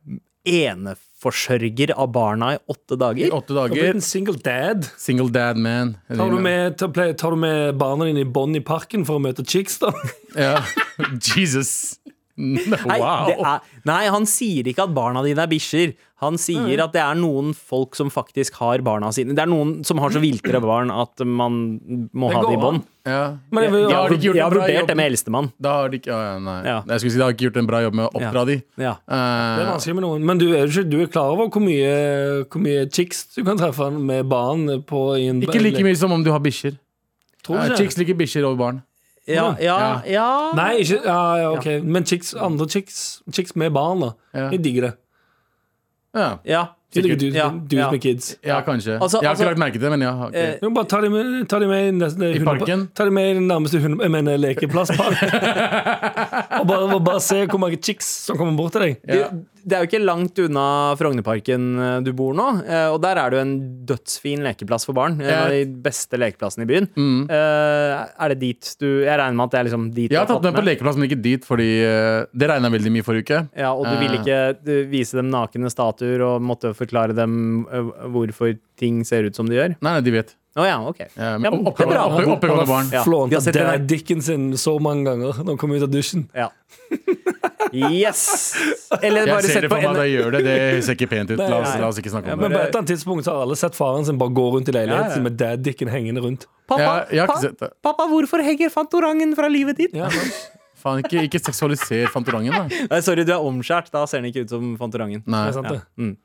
D: Eneforsørger av barna i åtte dager.
C: Åtte
B: Du er
C: dager.
B: en single dad.
C: Single dad man.
B: Tar du med, tar, play- tar du med barna dine i bånd i parken for å møte chicks, da?
C: Ja. Jesus.
D: Nei,
C: Wow.
D: det er, nei, han sier ikke at barna dine er bikkjer. Han sier at det er noen folk som faktisk har barna sine. Det er noen som har så viltre barn at man må
B: Det
D: ha det i
B: går
D: bånd.
B: an.
C: Ja.
B: Men jeg vil,
C: Ja, har de ikke gjort
D: Jeg har
C: en bra
D: vurdert
C: jobb?
D: det med eldstemann.
C: Da har de ikke ja, ja, Nei.
D: Ja.
C: Jeg skulle si de har ikke gjort en bra jobb med å oppdra
D: Ja.
C: de.
D: Ja.
B: det er
C: Eh,
B: vanskelig med noen. Men du er, jo ikke, du er klar over hvor mye, hvor mye chicks du kan treffe med barn på i en
C: ikke like mye som om du har bikkjer.
B: Tror du
C: Eh,
B: ikke?
C: chicks liker bikkjer over barn.
D: Ja, ja, ja.
B: Nei, ikke ja, ja, ok. Men chicks, andre chicks, chicks med barn, da.
C: Ja.
B: De digger det.
C: Ja,
D: ja.
B: De liker dudes,
D: Ja,
B: dudes
D: ja.
B: med kids.
C: ja kanskje.
D: Altså-
C: jeg har
D: altså-
C: ikke lagt merke til det, men jeg har ikke
D: Eh,
B: Jo, bare ta de med, ta de med, i nesten,
C: I
B: hundepar-
C: parken?
B: Ta de med i den nærmeste hunde, jeg mener, lekeplasspark. og bare, og bare se hvor mange chicks som kommer bort til deg.
D: Det,
C: Ja.
D: det er jo ikke langt unna Frognerparken eh, du bor nå, eh, og der er det jo en dødsfin lekeplass for barn. En av de beste lekeplassene i byen. Eh, Er det dit du Jeg regner med at det er liksom dit
C: Mm. Jeg har
D: du
C: tatt med på lekeplass, men ikke dit, fordi eh, det regna veldig mye forrige uke.
D: Ja, og du ville
C: Eh.
D: ikke eh, vise dem nakne statuer og måtte forklare dem eh, hvorfor ting ser ut som de gjør.
C: Nei, nei, de vet. Eh,
D: Å ja, ok.
C: Ja, men
D: Ja, men det er bra.
C: oppe- Oppegående barn.
D: Ja, vi har
B: Flånte
D: sett den her.
B: Dad Dicken sin så mange ganger når han kom ut av dusjen.
D: Ja. Yes! Eller bare
C: Jeg
D: sett
C: ser det
D: på
C: for meg,
D: en-
C: da gjør det. Det ser ikke pent ut. La oss,
B: Nei.
C: la oss ikke snakke
B: Ja,
C: om
B: men
C: det.
B: på et eller annet tidspunkt så har alle sett faren sin bare gå rundt i leiligheten
D: Ja, ja.
B: sin med Dad Dicken hengende rundt.
D: Pappa,
C: Jeg- jeg har ikke
D: pa-
C: sett det.
D: pappa, hvorfor henger fantorangen fra livet ditt?
B: Ja, sant?
C: Faen, ikke, ikke seksualiser Fantorangen, da.
D: Nei, sorry, du er omskjært. Da ser den ikke ut som fantorangen.
C: Nei.
B: Det er sant, det.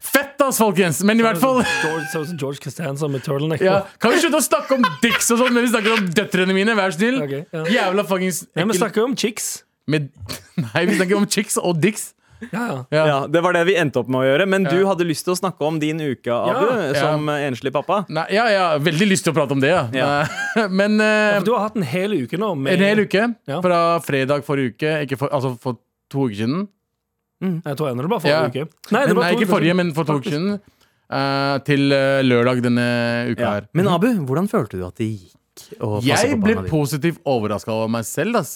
C: Fett, ass, folkens! Men i hvert fall
B: George, så så George Costanza med turtleneck.
C: ja.
B: på.
C: Kan vi slutte å snakke om dicks og sånn når vi snakker om døtrene mine? Vær så snill!
B: Ok, ja.
C: Jævla fuckings
B: Nei, men snakker jo om chicks.
C: Med, Nei, vi snakker om chicks og dicks.
B: Ja, ja.
C: Ja.
D: Ja, Det var det vi endte opp med å gjøre, men du hadde lyst til å snakke om din uke, Abu,
B: Ja,
C: ja.
D: som eh, enslig pappa.
C: Nei, ja, ja, veldig lyst til å prate om det, ja.
D: Ja.
C: Nei, Men eh,
B: For Du har hatt en hel uke nå. Med,
C: en hel uke.
B: Ja.
C: Fra fredag forrige uke, ikke for, altså for to uker siden.
B: Jeg tror ennå det var forrige
C: Ja.
B: uke.
C: Men,
B: det var
C: nei,
B: to
C: ikke
B: uker
C: forrige,
B: siden.
C: men for to uker
B: Faktisk.
C: siden. eh, til eh, lørdag denne uka
D: Ja.
C: her.
D: Men Abu, hvordan følte du at det gikk? å passe
C: Jeg
D: på
C: ble
D: barna dine?
C: positivt overraska over meg selv. ass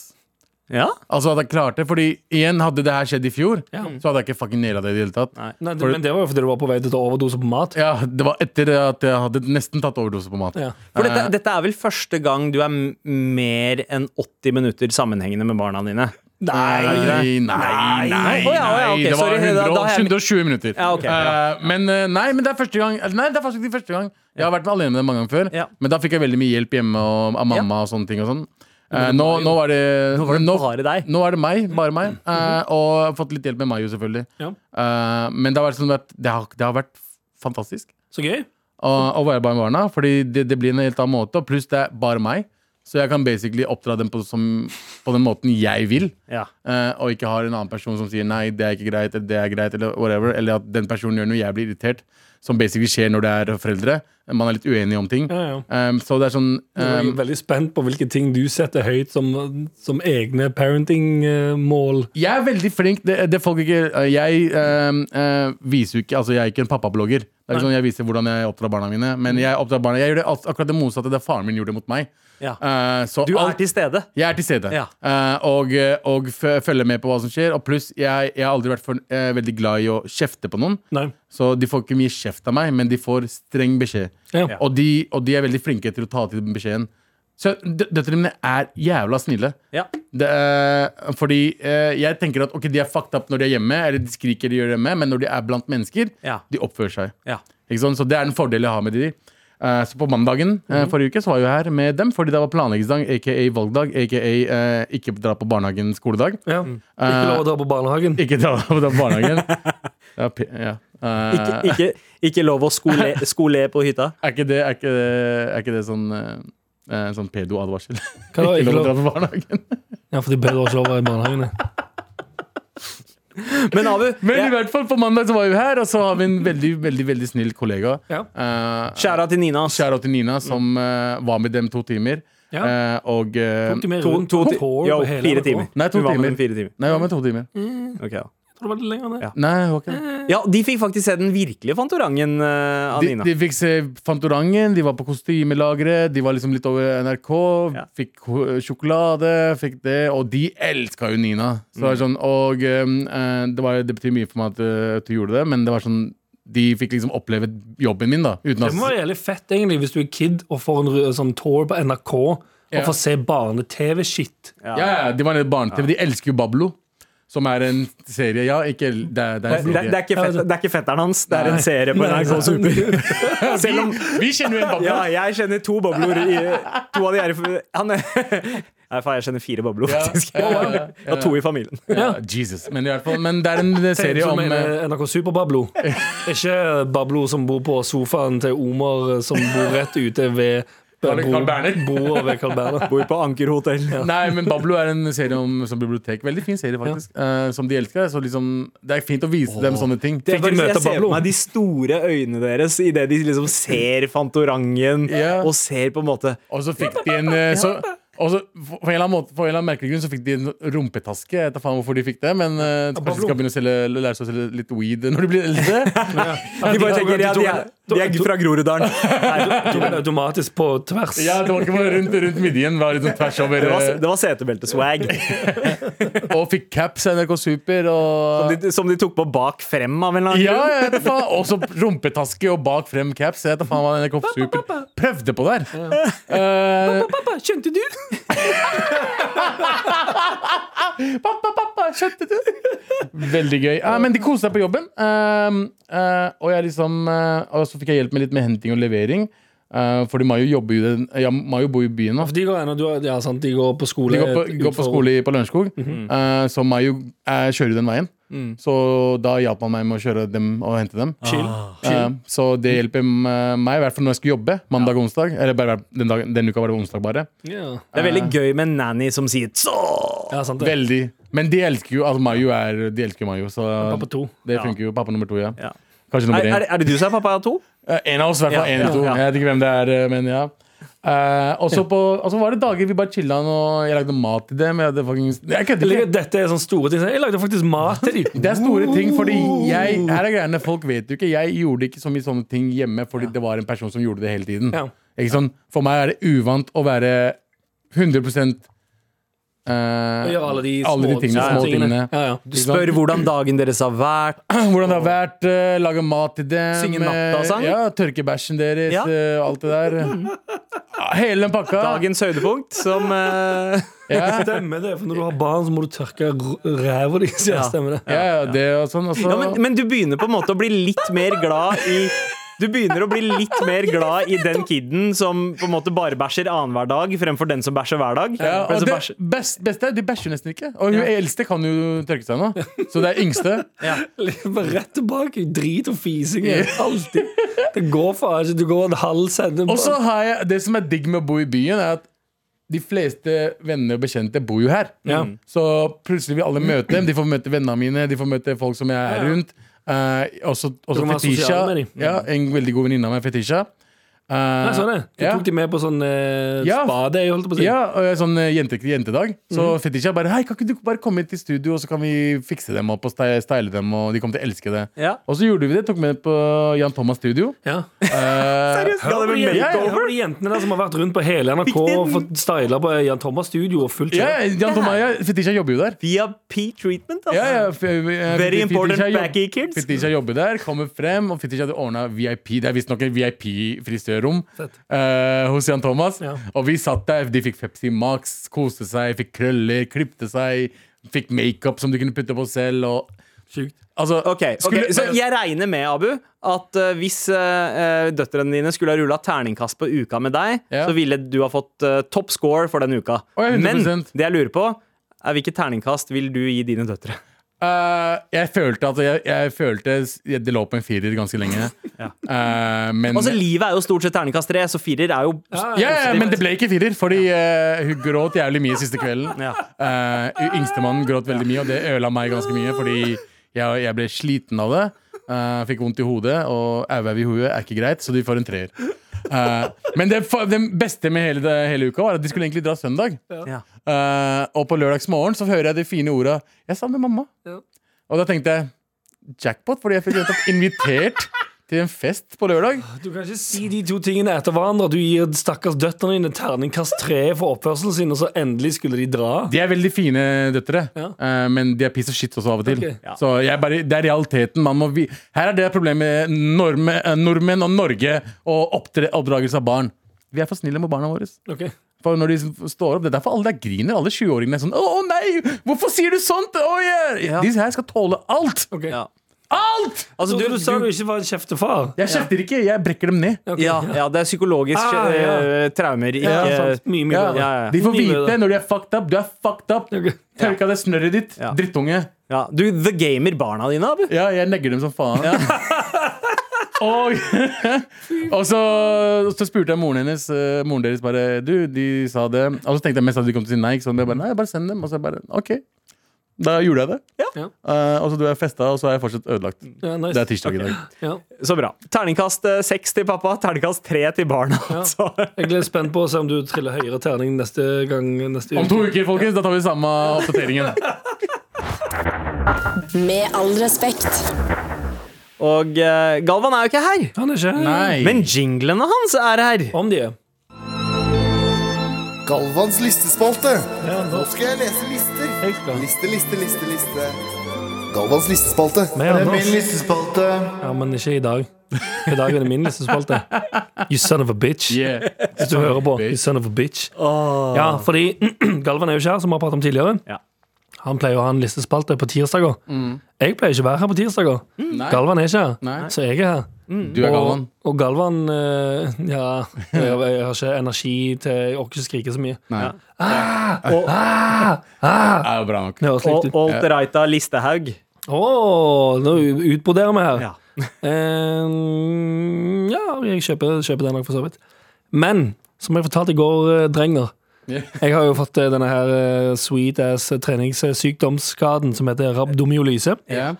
D: Ja?
C: Altså at jeg klarte Fordi igjen, hadde det her skjedd i fjor,
B: Ja.
C: så hadde jeg ikke fucking naila det i det hele tatt.
D: Nei.
B: Nei, det,
C: For-
B: men det var jo fordi du var på vei til å ta overdose på mat.
C: Ja, Det var etter at jeg hadde nesten tatt overdose på mat.
B: Ja.
D: For
C: Eh.
D: dette, dette er vel første gang du er m- mer enn 80 minutter sammenhengende med barna dine?
C: Nei, nei, nei, nei,
D: Å ja, å ja, ok,
C: Det var
D: sorry, da-
C: 100,
D: da har jeg-
C: 120 minutter.
D: Ja, ok, ja.
C: Eh, men eh, nei, men det er første gang Nei, det er faktisk ikke første gang. Jeg har vært alene med dem mange ganger før,
D: Ja.
C: men da fikk jeg veldig mye hjelp hjemme og, av mamma og sånne ting. og sånn Eh, nå, nå er det
D: Nå var det
C: nå-
D: bare Mhm. deg.
C: Nå er det meg, bare meg. eh, og jeg har fått litt hjelp med Mayo, selvfølgelig.
B: Ja.
C: Eh, men det har vært sånn at det har, det har vært fantastisk
B: Så gøy.
C: å, å være bare med barna. Fordi det, det blir en helt annen måte, og pluss det er bare meg. Så jeg kan basically oppdra dem på, som, på den måten jeg vil.
D: Ja.
C: eh, og ikke har en annen person som sier nei, det er ikke greit, eller det er greit, eller whatever. Eller at den personen gjør noe jeg blir irritert. Som basically skjer når det er foreldre. Man er litt uenige om ting.
B: Ja, ja.
C: Eh, så det er sånn
B: Jeg er
C: eh,
B: veldig spent på hvilke ting du setter høyt som, som egne parenting-mål.
C: Jeg er veldig flink. Det, det folk ikke Jeg øhm, øh, viser jo ikke Altså, jeg er ikke en pappablogger. Det er ikke sånn Jeg viser hvordan jeg oppdrar barna mine.
D: Mm.
C: Men jeg oppdrar barna Jeg gjør det alt- akkurat det motsatte det faren min gjorde mot meg.
D: Ja.
C: Eh, så
D: Du er
C: alt-
D: til stede.
C: jeg er til stede.
D: Ja.
C: Eh, og og f følger med på hva som skjer. Og pluss, jeg, jeg har aldri vært for, eh, veldig glad i å kjefte på noen.
B: Nei.
C: Så de får ikke mye kjeft av meg, men de får streng beskjed.
B: Ja.
C: Og, de, og de er veldig flinke til å ta til den beskjeden. Så dø- døtrene mine er jævla snille.
D: Ja.
C: Det er, fordi eh, jeg tenker at ok, de er fucked up når de er hjemme, eller de skriker de gjør hjemme, men når de er blant mennesker,
D: Ja.
C: de oppfører seg.
D: Ja.
C: Ikke sant? Så det er en fordel jeg har med de. Eh, så på mandagen eh,
B: Mhm.
C: forrige uke så var jeg jo her med dem, fordi det var planleggingsdag, aka valgdag, aka eh, ikke dra på barnehagen skoledag. Eh,
B: Ja. Ikke lov å dra på barnehagen.
C: Mm. Ikke dra på den barnehagen. ja, p ja. Eh,
D: Ikke, ikke, ikke lov å skole, skole på hytta.
C: er, ikke det, er, ikke det, er ikke det sånn eh, eh, Sånn pedo-advarsel?
B: Hva da?
C: ikke
B: Ikke
C: lov å dra
B: lov?
C: på barnehagen.
B: Ja, for de bedre ikke lov å være i barnehagen. ja.
D: Men Abu,
C: Men i
D: jeg-
C: hvert fall på mandag så var vi her, og så har vi en veldig veldig, veldig snill kollega.
B: Ja.
C: Eh,
D: skjæra til Nina. ass.
C: Kjære til Nina, som eh, var med dem to timer.
B: Ja.
C: Eh, og eh,
B: Tok de med
D: To,
B: rundt
D: to,
B: på
D: ti-
B: tour
D: jo,
B: på hele
D: fire
B: NRK?
D: timer.
C: Nei, to
D: Hun var med
C: timer.
D: dem Fire timer.
C: Nei, hva med to timer?
B: Mm.
D: Ok, da.
B: Jeg tror det var litt lenger enn det.
D: Ja.
C: Nei, det var ikke
B: Eh,
C: det.
D: Ja, de fikk faktisk se den virkelige Fantorangen eh, av
C: De,
D: Nina.
C: de fikk se Fantorangen, de var på kostymelageret, de var liksom litt over NRK.
D: Ja.
C: Fikk ko- sjokolade, fikk det. Og de elska jo Nina. Så
D: Mm.
C: det var sånn, og eh, det, var, det betyr mye for meg at eh, at du gjorde det, men det var sånn de fikk liksom oppleve jobben min, da. Uten
B: Det må være jævlig fett egentlig hvis du er kid og får en ru- sånn tour på NRK og
C: Ja.
B: får se barne-TV-shit.
C: Ja, ja, de var nede i barne-TV. De elsker jo Bablo, som er en serie. Ja, ikke Det, er- det er en
D: Det, det,
C: serie.
D: det, er ikke fet, det er ikke fetteren hans, det er en serie på
B: Nei,
D: NRK Super. Selv om
C: Vi kjenner jo en Bablo.
D: Ja, jeg kjenner to bobler i To av de er i han, Nei, faen, jeg kjenner fire bobler, faktisk.
C: ja, ja, ja.
D: Det er to i familien.
C: Ja, Jesus. Men, i hvert fall, men det er en eh, serie
B: Som
C: om eh,
B: mener NRK Superbablo. Ikke Bablo som bor på sofaen til Omar eh, som bor rett ute ved
C: Carl- Carl Berner.
B: broa ved Carl Berner.
D: Bor på Anker hotell.
C: Nei, men Bablo er en serie om som bibliotek. Veldig fin serie, faktisk. eh, som de elsker. Så liksom, det er fint å vise dem sånne ting.
D: Det er
B: Fikk de
D: faktisk-
B: møte
D: jeg ser
B: Pablo?
D: på meg de store øynene deres idet de liksom ser Fantorangen
C: Ja.
D: og ser på en måte
C: Og så fikk de en eh, så, og så, for, for en eller annen måte, for en eller annen merkelig grunn så fikk de en rumpetaske. Jeg vet da faen hvorfor de fikk det, men eh, kanskje de skal begynne å selge, lære seg å selge litt weed når de blir eldre.
D: De bare tenker ja, de er, de er fra Groruddalen.
B: Tok den automatisk på tvers.
C: ja, det var ikke bare rundt, rundt midjen. Var liksom tvers over
D: Det var,
C: eh,
D: det var setebelte-swag.
C: Og fikk caps av NRK Super. Og
D: De, som de tok på bak frem av en eller annen
C: ja,
D: grunn.
C: jeg vet da faen. Også rumpetaske og bak frem caps. Jeg vet da faen hva NRK Super prøvde på der. Eh,
B: Pappa, skjønte du?
C: Pappa, pappa, skjønte du? Veldig gøy. Ja, men de koste seg på jobben. Ehm, eh, og, jeg liksom, eh, og så fikk jeg hjelp med litt med henting og levering. eh, fordi Mayo, jobber jo i den, ja, Mayo bor jo i byen nå.
B: De går, ennå- du har- ja, sant, de går på skole.
C: De går på, går på skole i- på Lørenskog,
B: Mhm.
C: eh, så Mayo eh, kjører jo den veien.
B: Mm.
C: Så da hjalp han meg med å kjøre dem og hente dem.
B: Ah, Chill.
C: Eh, så det hjelper eh, meg, i hvert fall når jeg skal jobbe mandag og onsdag. Eller bare, den, dagen, den uka var det onsdag, bare.
B: Ja.
D: Det er veldig gøy med en nanny som sier så.
B: ja, sant det.
C: Veldig. Men de elsker jo altså Mayo. Er, de elsker Mayo så
B: Pappa to.
C: det
D: Ja.
C: funker jo. Pappa nummer to, ja.
D: Ja.
C: Kanskje
D: Er,
C: nummer én.
D: er, er det du som er pappa to?
C: Eh, En av oss, i hvert fall.
D: Ja,
C: en eller
D: ja,
C: to.
D: ja.
C: Jeg vet ikke hvem det er, eh, men ja. Eh, og så på- og så var det dager vi bare chilla og jeg lagde mat til dem. Jeg, hadde fucking- jeg kødder
B: Eller,
C: ikke.
B: Dette er sånne store ting. Jeg lagde faktisk mat til dem.
C: Det er store ting, fordi jeg, her er greiene folk vet jo ikke. Jeg gjorde ikke så mye sånne ting hjemme fordi det var en person som gjorde det hele tiden.
B: Ja.
C: Ikke sånn? For meg er det uvant å være 100 eh,
B: Og gjøre alle de små,
C: alle de tingene, små tingene.
B: Ja, ja.
D: Du spør hvordan dagen deres har vært.
C: Hvordan det har vært, eh, lage mat til dem.
D: Synge nattasang.
C: eh, Ja, tørke bæsjen deres,
D: Ja. Mm.
C: eh, alt det der. Ja, Hele den pakka.
D: Dagens høydepunkt som eh,
C: Ja.
B: Stemmer det, for når du har barn, så må du tørke r- ræva di. så Ja.
D: Ja.
B: Stemmer det.
C: Ja, ja, det og sånn. Og så,
D: ja, men, men du begynner på en måte å bli litt mer glad i Du begynner å bli litt mer glad i den kiden som på en måte bare bæsjer annenhver dag, fremfor den som bæsjer hver dag.
C: ja,
D: Den
C: og
D: som
C: det
D: bæsjer-
C: best, beste er de bæsjer nesten ikke. Og hun eldste kan jo tørke seg nå. Så det er yngste.
B: Liksom, Bare rett tilbake. Drit og fising. er Alltid. Det går faen ikke. Du går en halv centimeter.
C: Og så har jeg Det som er digg med å bo i byen, er at de fleste venner og bekjente bor jo her. Mm.
B: Ja.
C: Så plutselig vil alle møte dem. De får møte vennene mine, de får møte folk som jeg er rundt. Eh, også også
B: kan være
C: Fetisha.
B: sosial med dem.
C: Ja, en veldig god venninne av meg, Fetisha. Eh,
B: Nei, sånn er det. Du
C: ja.
B: tok de med på sånn eh,
C: Ja.
B: spadeie, holdt jeg på å si.
C: Ja, og jeg er sånn eh, jente, jentedag. Så
B: Mhm.
C: Fetisha bare Hei, kan ikke du bare komme hit til studio, og så kan vi fikse dem opp og sty- style dem, og de kommer til å elske det.
D: Ja.
C: Og så gjorde vi det. Tok med på Jan Thomas studio.
B: Ja.
C: Eh,
D: Ga dem en
B: Ja, ja,
D: makeover.
B: de jentene der som har vært rundt på hele NRK
D: Fikk de-
B: og fått styla på eh, Jan Thomas studio og fullt
C: ja,
B: kjør.
C: Jan Thomas, ja, Fetisha jobber jo der.
D: Via P-treatment, altså.
C: Ja, ja, f- eh, Fetisha
D: important
C: jobb-
D: backy kids.
C: Fetisha jobber der, kommer frem, og Fetisha hadde ordna VIP. Det er visstnok et VIP-frisørrom eh, hos Jan Thomas.
B: Ja.
C: Og vi satt der, de fikk Pepsi Max, koste seg, fikk krøller, klipte seg, fikk makeup som du kunne putte på selv. Og
B: Sjukt.
C: Altså,
D: Ok, ok.
C: skulle-
D: Så jeg regner med, Abu, at eh, hvis eh, eh, døtrene dine skulle ha rulla terningkast på uka med deg,
C: Ja.
D: så ville du ha fått eh, topp score for den uka.
C: Å, ja, 100%.
D: Men det jeg lurer på, er hvilket terningkast vil du gi dine døtre?
C: Eh, jeg følte at jeg, jeg følte s- Det lå på en firer ganske lenge. Eh,
B: Mm.
C: men,
D: Altså, Livet er jo stort sett terningkast tre, så firer er jo
C: ja, ja, men det ble ikke firer, fordi eh, hun gråt jævlig mye siste kvelden.
D: Ja.
C: Eh, Yngstemannen gråt veldig mye, og det ødela meg ganske mye, fordi jeg, jeg ble sliten av det. Eh, fikk vondt i hodet, og auvev i hodet er ikke greit, så de får en treer. Eh, men det, fa- det beste med hele, det, hele uka var at de skulle egentlig dra søndag.
D: Ja.
C: Eh, og på lørdagsmorgen så hører jeg de fine orda 'Jeg savner mamma'.
B: Ja.
C: Og da tenkte jeg jackpot, fordi jeg fikk rett og slett invitert til en fest på lørdag.
B: Du kan ikke si de to tingene etter hverandre. Du gir stakkars døtrene dine terningkast tre for oppførselen sin, og så endelig skulle de dra.
C: De er veldig fine døtre,
B: Ja.
C: eh, men de er piss og shit også av og til.
B: Ok.
D: Ja.
C: Så jeg bare, det er realiteten. Man må vi Her er det problemet med norme, eh, nordmenn og Norge og oppdre, oppdragelse av barn. Vi er for snille mot barna våre.
B: Ok.
C: For når de står opp, Det er derfor alle der griner. Alle 20-åringene er sånn 'Å nei, hvorfor sier du sånt?' Oh, yeah.
D: Ja.
C: De her skal tåle alt!
B: ok.
D: Ja.
C: Alt!
D: Altså,
B: Så du,
D: du,
B: sa du
D: du,
B: ikke var en kjeftefar?
C: Jeg kjefter ikke, jeg brekker dem ned.
B: Ok.
D: ja, ja, det er psykologisk
B: Ah, ja.
D: eh, traumer. Ikke,
B: Ja, sant. Mye, mye
C: Ja,
B: bedre.
D: ja, ja.
C: De får
B: Mye
C: vite
B: bedre.
C: når de er fucked up. Du er fucked up.
B: Ok.
C: Tørk av det snørret ditt,
D: Ja.
C: drittunge.
D: ja. Du, the gamer barna dine, Abu.
C: Ja, jeg negger dem som faen. og, og så, så spurte jeg moren hennes eh, Moren deres bare Du, de sa det. Og så tenkte jeg mest at de kom til å si nei. Ikke sant? Jeg bare, nei, bare send dem. Og så jeg bare OK. Da gjorde jeg det.
B: Ja.
C: Eh, og så dro jeg og festa, og så er jeg fortsatt ødelagt.
B: Ja, nice.
C: Det er tirsdag i dag.
B: Ja.
D: Så bra. Terningkast eh, seks til pappa, terningkast tre til barna. altså.
B: Jeg er spent på å se om du triller høyere terning neste gang neste
C: Om
B: uke.
C: to uker, folkens, da tar vi samme oppdateringen.
E: Med all respekt.
D: Og eh, Galvan er jo ikke her.
B: Han er ikke her.
D: Men jinglene hans er her.
B: Om de er.
F: Galvans listespalte. Nå skal jeg lese liste. lister.
B: skal.
F: Liste, liste, liste, liste. Galvans listespalte.
B: Med Anders.
F: listespalte.
B: Ja, men ikke i dag. I dag er det min listespalte. You son of a bitch.
C: Yeah.
B: Hvis du hører på. You son of a bitch. Ja, fordi Galvan er jo ikke her, som vi har pratet om tidligere.
D: Ja.
B: Han pleier å ha en listespalte på tirsdager. Jeg pleier ikke å være her på tirsdager.
C: Nei.
B: Galvan er ikke her,
C: Nei.
B: så jeg er her.
C: Du er Galvan.
B: Og, og Galvan eh, Ja, jeg, jeg har ikke energi til Jeg orker ikke skrike så mye.
C: Nei. Ah!
D: Og,
C: Det er jo bra nok.
B: Det høres
D: og
B: likt ut.
D: alt right av Listehaug.
B: Å, nå utbroderer vi her.
D: Ja.
B: Eh, ja, jeg kjøper, kjøper den nok, for så vidt. Men som jeg fortalte i går, eh, Drenger
C: Ja.
B: Jeg har jo fått eh, denne her eh, sweet ass treningssykdomsskaden som heter rabdomyolyse.
C: Ja.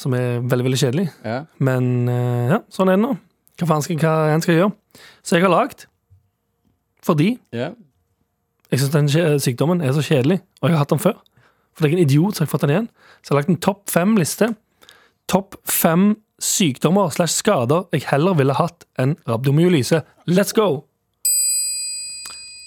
B: Som er veldig, veldig kjedelig.
C: Ja.
B: Men eh, ja, sånn er det nå. Hva faen skal hva en skal gjøre? Så jeg har lagd fordi
C: Ja.
B: jeg syns den kje- sykdommen er så kjedelig, og jeg har hatt den før. For jeg er en idiot, så jeg har fått den igjen. Så jeg har lagt en topp fem-liste. Topp fem sykdommer slash skader jeg heller ville hatt enn rabdomyolyse. Let's go!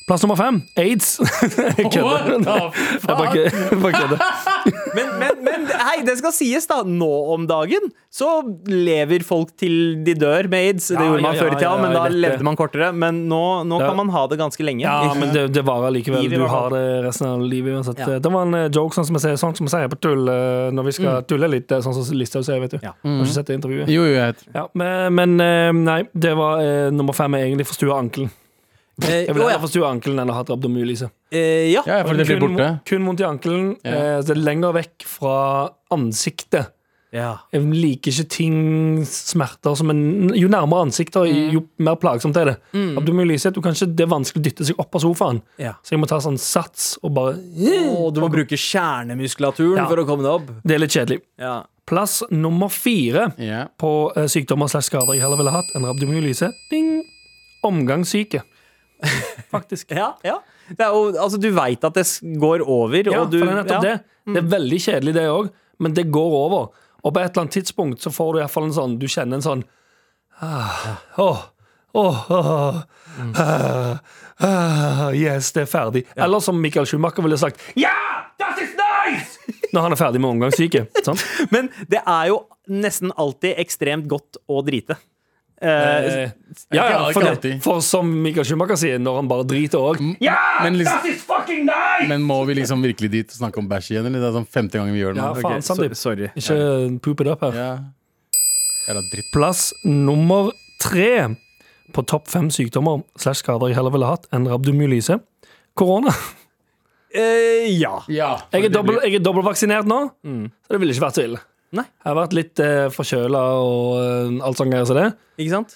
B: Plass nummer fem aids. Jeg kødder.
C: What the
B: Jeg bare kø- jeg bare kødder.
D: Men, men, men hei, det skal sies, da. Nå om dagen så lever folk til de dør med aids. Det
B: Ja,
D: gjorde man
B: ja,
D: før i
B: ja,
D: tida,
B: ja,
D: men
B: jeg
D: da
B: vet det.
D: levde man kortere. Men nå, nå
B: Ja.
D: kan man ha det ganske lenge.
B: Ja, men det, det varer likevel.
D: Livet i
B: Du
D: hvert fall.
B: har det resten av livet uansett.
D: Ja.
B: Det var en eh, joke, sånn som vi sier, sånn som vi sier på tull eh, når vi skal tulle litt. eh, Sånn som Listhaug sier, vet du.
D: Ja.
B: Har ikke sett det intervjuet.
C: Jo, jo, jeg heter
B: Ja, men, men eh, nei, det var eh, nummer fem er egentlig forstua ankelen.
D: Eh,
B: Jeg vil
D: å, ja.
B: heller forstua ankelen enn å ha rabdomyolyse.
D: Eh, ja.
C: Ja, for det blir
B: Kun,
C: borte.
B: kun vondt i ankelen.
C: Ja.
B: eh, så det er lenger vekk fra ansiktet.
D: ja.
B: Jeg liker ikke ting, smerter som en, Jo nærmere ansiktet,
D: Mm.
B: jo mer plagsomt er det. Rabdomyolyse, du kan ikke, det er vanskelig å dytte seg opp av sofaen.
D: Ja.
B: Så jeg må ta sånn sats og bare
D: Å, du må bruke kjernemuskulaturen
B: Ja.
D: for å komme deg opp.
B: Det er litt kjedelig.
D: Ja.
B: Plass nummer fire
C: Ja.
B: på eh, sykdommer slags skader jeg heller ville hatt enn rabdomyolyse. Ding! Omgangssyke. Faktisk.
D: Ja, ja. Det er jo, altså, du veit at det s- går over,
B: Ja,
D: og du
B: for det er nettopp
D: ja.
B: det. Det er veldig kjedelig, det òg, men det går over. Og på et eller annet tidspunkt så får du i hvert fall en sånn Du kjenner en sånn ah, åh, åh, åh, ah, ah, Yes, det er ferdig. Eller som Michael Schumacher ville sagt Ja! That is nice! Når han er ferdig med omgangssyke. Sant?
D: Men det er jo nesten alltid ekstremt godt å drite. Eh,
B: Eh, ja, ja,
C: ikke
B: for, det,
C: alltid.
B: for som Michael Schumacher sier, når han bare driter òg
C: Men, liksom, men må vi liksom virkelig dit og snakke om bæsj igjen? Eller det er sånn femte gangen vi gjør det nå?
B: Ja, faen, sånn
C: Ok,
B: Sandeep.
C: so- sorry.
B: Ikke poop it up her.
C: Ja. Jævla dritt.
B: Plass nummer tre på topp fem sykdommer slash skader jeg heller ville hatt enn rabdomyolyse. Korona.
D: eh, ja.
B: Jeg er dobbel- jeg er dobbeltvaksinert nå, så det ville ikke vært så ille.
D: Nei.
B: Jeg har vært litt eh, forkjøla og eh, alt sånt greier som det.
D: Ikke sant?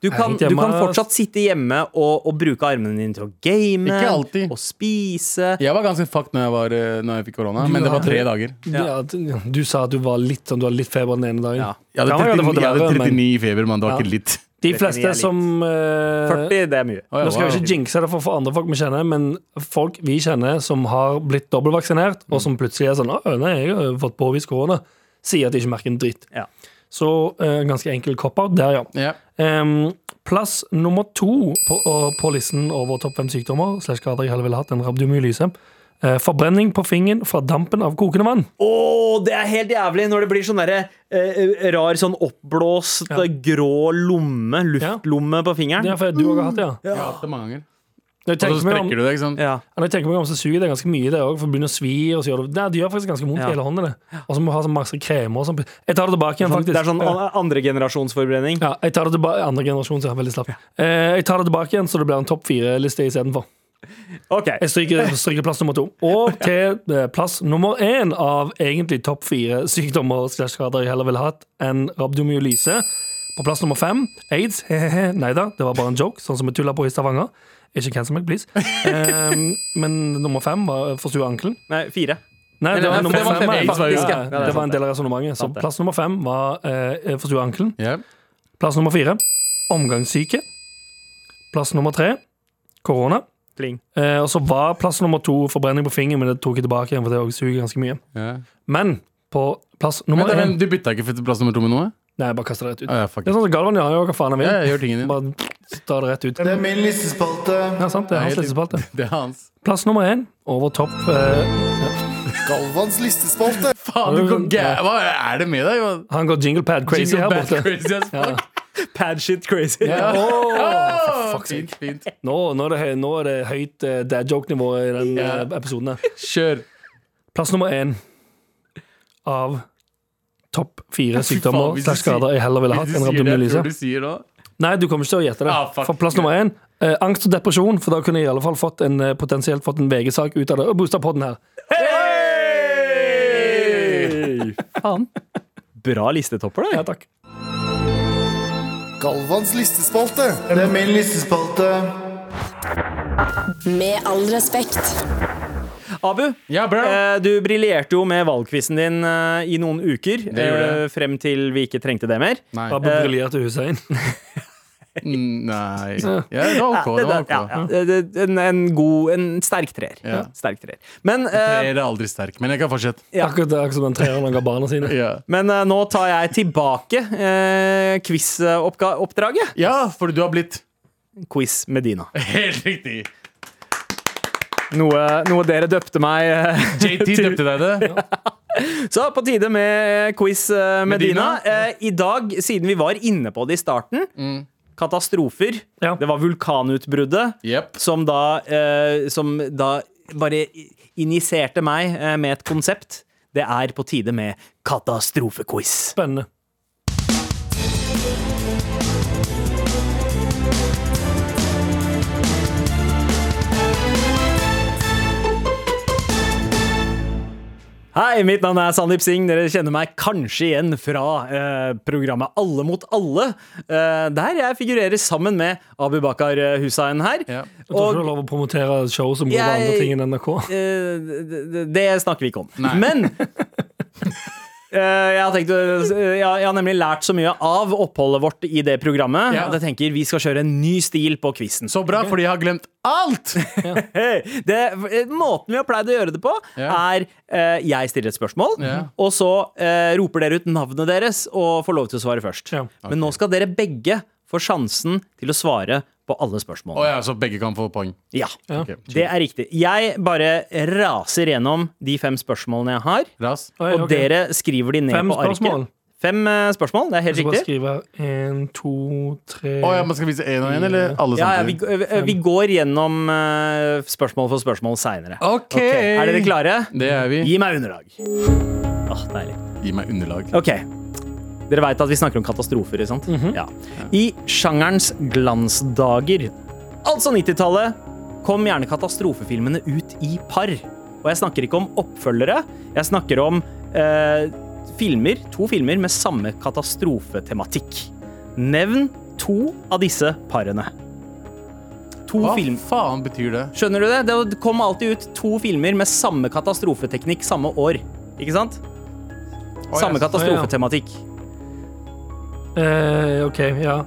D: Du kan,
B: Hengt
D: du kan
B: hjemme.
D: fortsatt sitte hjemme og, og bruke armene dine til å game
C: Ikke alltid.
D: og spise.
C: Jeg var ganske fucked når jeg, var, eh, når jeg fikk korona, men det var tre dager.
B: Ja. du, du sa at du var litt sånn, du hadde litt feber den ene dagen.
D: Ja.
C: Jeg
B: Kan man
C: hadde
B: jo få
C: 39,
B: det
C: jeg hadde
B: verre, men-
C: 39 i feber, men det var
B: Ja.
C: ikke litt.
B: De
D: 39 er
B: fleste
D: litt.
B: som eh,
D: 40, det er mye.
C: Å, ja,
B: Nå skal vi
C: wow.
B: ikke jinxe det for, for andre folk vi kjenner, men folk vi kjenner som har blitt dobbeltvaksinert, og som plutselig er sånn «Å, nei, jeg har fått påvist korona, sier at de ikke merker en dritt.
D: Ja.
B: Så eh, en ganske enkel cop-out der, ja.
C: Ja.
B: Em, Ehm, plass nummer to på, og- på listen over topp fem sykdommer slash skader jeg heller ville hatt enn rabdomyolyse. Eh, forbrenning på fingeren fra dampen av kokende vann.
D: Å, det er helt jævlig når det blir sånn derre eh, rar, sånn oppblåst
B: Ja.
D: grå lomme, luftlomme på
B: Det
D: fingeren.
B: er fordi du også har hatt det, ja.
C: Jeg har hatt det mange ganger.
B: Når jeg
C: Og så
B: tenker meg om,
C: sprekker du deg, ikke sant.
D: Ja.
B: når jeg tenker meg om så suger det ganske mye, det òg. For det begynner å svi. Og så gjør det, nei, det gjør faktisk ganske vondt i
D: Ja.
B: hele hånden. det. Og så må du ha sånn masse kremer og sånn. Jeg tar det tilbake igjen, faktisk.
D: Det er sånn
B: Ja.
D: an- andregenerasjonsforbrenning.
B: Ja, jeg tar det tilbake Andre generasjon, så jeg er veldig slapp. Eh, jeg tar det tilbake igjen, så det blir en topp fire-liste istedenfor.
D: Ok.
B: Jeg stryker, stryker plass nummer to. Og til eh, plass nummer én av egentlig topp fire sykdommer og skader jeg heller ville hatt enn rabdomyolyse. På plass nummer fem aids. Hehehe. Nei da, det var bare en joke, sånn som vi tulla på i Stavanger. Ikke cancel meg, please. Eh, men nummer fem var forstua ankelen.
D: Nei, fire.
B: Nei, det
D: nei,
B: var
D: for
B: nummer
D: det var
B: fem.
D: fem.
B: er
D: Aids var jo-
B: faktisk-
D: ja,
B: ja,
D: det er
B: Det var
D: sant
B: en del av resonnementet. Så
D: Sant det.
B: plass nummer fem var eh, forstua ankelen.
C: Ja.
B: Plass nummer fire omgangssyke. Plass nummer tre korona.
D: Pling.
B: Eh, og så var plass nummer to forbrenning på fingeren, men det tok jeg tilbake igjen, for det også suger ganske mye.
C: Ja.
B: Men på plass nummer
C: Men det er den,
B: én
C: du bytta ikke for plass nummer to med noe?
B: Nei, jeg bare kaster det rett ut.
C: Å, ja, fuck.
B: Det er sånn som Galvan gjør, jeg gjør hva faen han
C: Ja, jeg
B: vil.
C: gjør tingen din.
B: Bare ta det rett ut.
F: Det er min listespalte.
B: Ja, sant, det er hans listespalte.
C: Det er hans.
B: Plass nummer én over topp eh,
F: Galvans listespalte.
C: Faen, du går gæ... Hva er det med deg? Johan?
B: Han går jingle pad crazy
C: Jingle
B: her
C: bad
B: borte.
C: crazy as fuck.
D: Pad shit crazy.
C: Åh,
B: fuck's
C: Fint, fint.
B: Nå, nå, er det, høy- nå er det høyt eh, dad joke-nivå i den eh, episoden. her.
C: Kjør.
B: Plass nummer én av topp fire
C: Fy faen,
B: sykdommer
C: hvis du
B: slags skader jeg heller ville
C: sier-
B: hatt
C: hvis du
B: enn
C: sier det jeg
B: rabdomyolyse.
C: tror du sier nå.
B: Nei, du kommer ikke til å gjette det.
C: Ah, fuck.
B: For plass nummer én eh, angst og depresjon, for da kunne jeg i alle fall fått en, eh, potensielt fått en VG-sak ut av det. Og boosta podden her.
D: Faen. Bra listetopper, det.
B: Ja, takk.
F: Galvans listespalte. Det er min listespalte.
E: Med all respekt.
D: Abu,
C: Ja, bra.
D: eh, du briljerte jo med valgquizen din eh, i noen uker.
C: gjorde
D: eh, Frem til vi ikke trengte det mer.
C: Nei.
B: Abu briljerte Hussein.
C: Mm, Nei. Ja, det var ok. Det var
D: Ja,
C: ok.
D: ja. Det- det- En, en god En sterk treer.
C: Ja.
D: Sterk treer. Men, eh,
C: Jeg er aldri sterk, men jeg kan fortsette.
D: Ja.
B: Akkurat det, akkurat som den treeren han ga barna sine.
C: Ja,
D: men eh, nå tar jeg tilbake eh, quiz-oppdraget.
C: ja for du har blitt
D: Quiz med Dina.
C: Helt riktig.
D: Noe, noe dere døpte meg eh,
C: JT døpte deg det.
D: Så på tide med quiz eh, med
C: Medina.
D: Dina. Eh, I dag, siden vi var inne på det i starten
C: Mm.
D: Katastrofer.
B: Ja.
D: Det var vulkanutbruddet
C: Jep.
D: som da, eh, som da bare injiserte meg eh, med et konsept. Det er på tide med katastrofequiz.
B: Spennende.
D: Hei, mitt navn er Sandeep Singh. Dere kjenner meg kanskje igjen fra eh, programmet Alle mot alle, eh, der jeg figurerer sammen med Abubakar Hussein her. eh,
C: Ja.
B: Jeg tror ikke du har lov å promotere show som går på andre
D: Jeg-
B: ting enn NRK.
D: Eh, d- d- det snakker vi ikke om.
C: Nei.
D: Men eh, jeg, har tenkt, å- eh, jeg, jeg har nemlig lært så mye av oppholdet vårt i det programmet
C: Ja.
D: at jeg tenker vi skal kjøre en ny stil på quizen.
C: Så bra, fordi jeg har glemt alt!
D: Hei, det, eh, måten vi har pleid å gjøre det på,
C: Ja.
D: er eh, jeg stiller et spørsmål,
C: Ja.
D: og så eh, roper dere ut navnet deres og får lov til å svare først.
B: Ja.
D: Men nå skal dere begge få sjansen til å svare på alle spørsmålene.
C: Å ja, så begge kan få poeng.
D: Ja.
C: Ok,
D: Det er riktig. Jeg bare raser gjennom de fem spørsmålene jeg har.
C: Ras.
B: Oi,
D: Og
B: ok.
D: dere skriver de ned
B: Fem
D: på arket.
B: spørsmål.
D: Fem eh, spørsmål, det er helt
B: Så bare
D: riktig.
B: skrive én, to, tre
C: Å ja, man skal vise én og én, eller alle
D: Ja, ja, vi,
C: samtidig?
D: eh, vi går gjennom eh, spørsmål for spørsmål seinere.
C: Ok.
D: Er dere klare?
C: Det er vi.
D: Gi meg underlag. Åh, deilig.
C: Gi meg underlag.
D: Ok. Dere veit at vi snakker om katastrofer, ikke sant?
C: Mhm.
D: ja. I sjangerens glansdager, altså 90-tallet, kom gjerne katastrofefilmene ut i par. Og jeg snakker ikke om oppfølgere, jeg snakker om eh, filmer, to filmer med samme katastrofetematikk. Nevn to av disse parene. To
C: Hva
D: film...
C: faen betyr det?
D: Skjønner du det? Det kom alltid ut to filmer med samme katastrofeteknikk samme år. Ikke sant?
C: ja,
D: Samme
C: så-
D: katastrofetematikk.
B: Eh, OK, ja.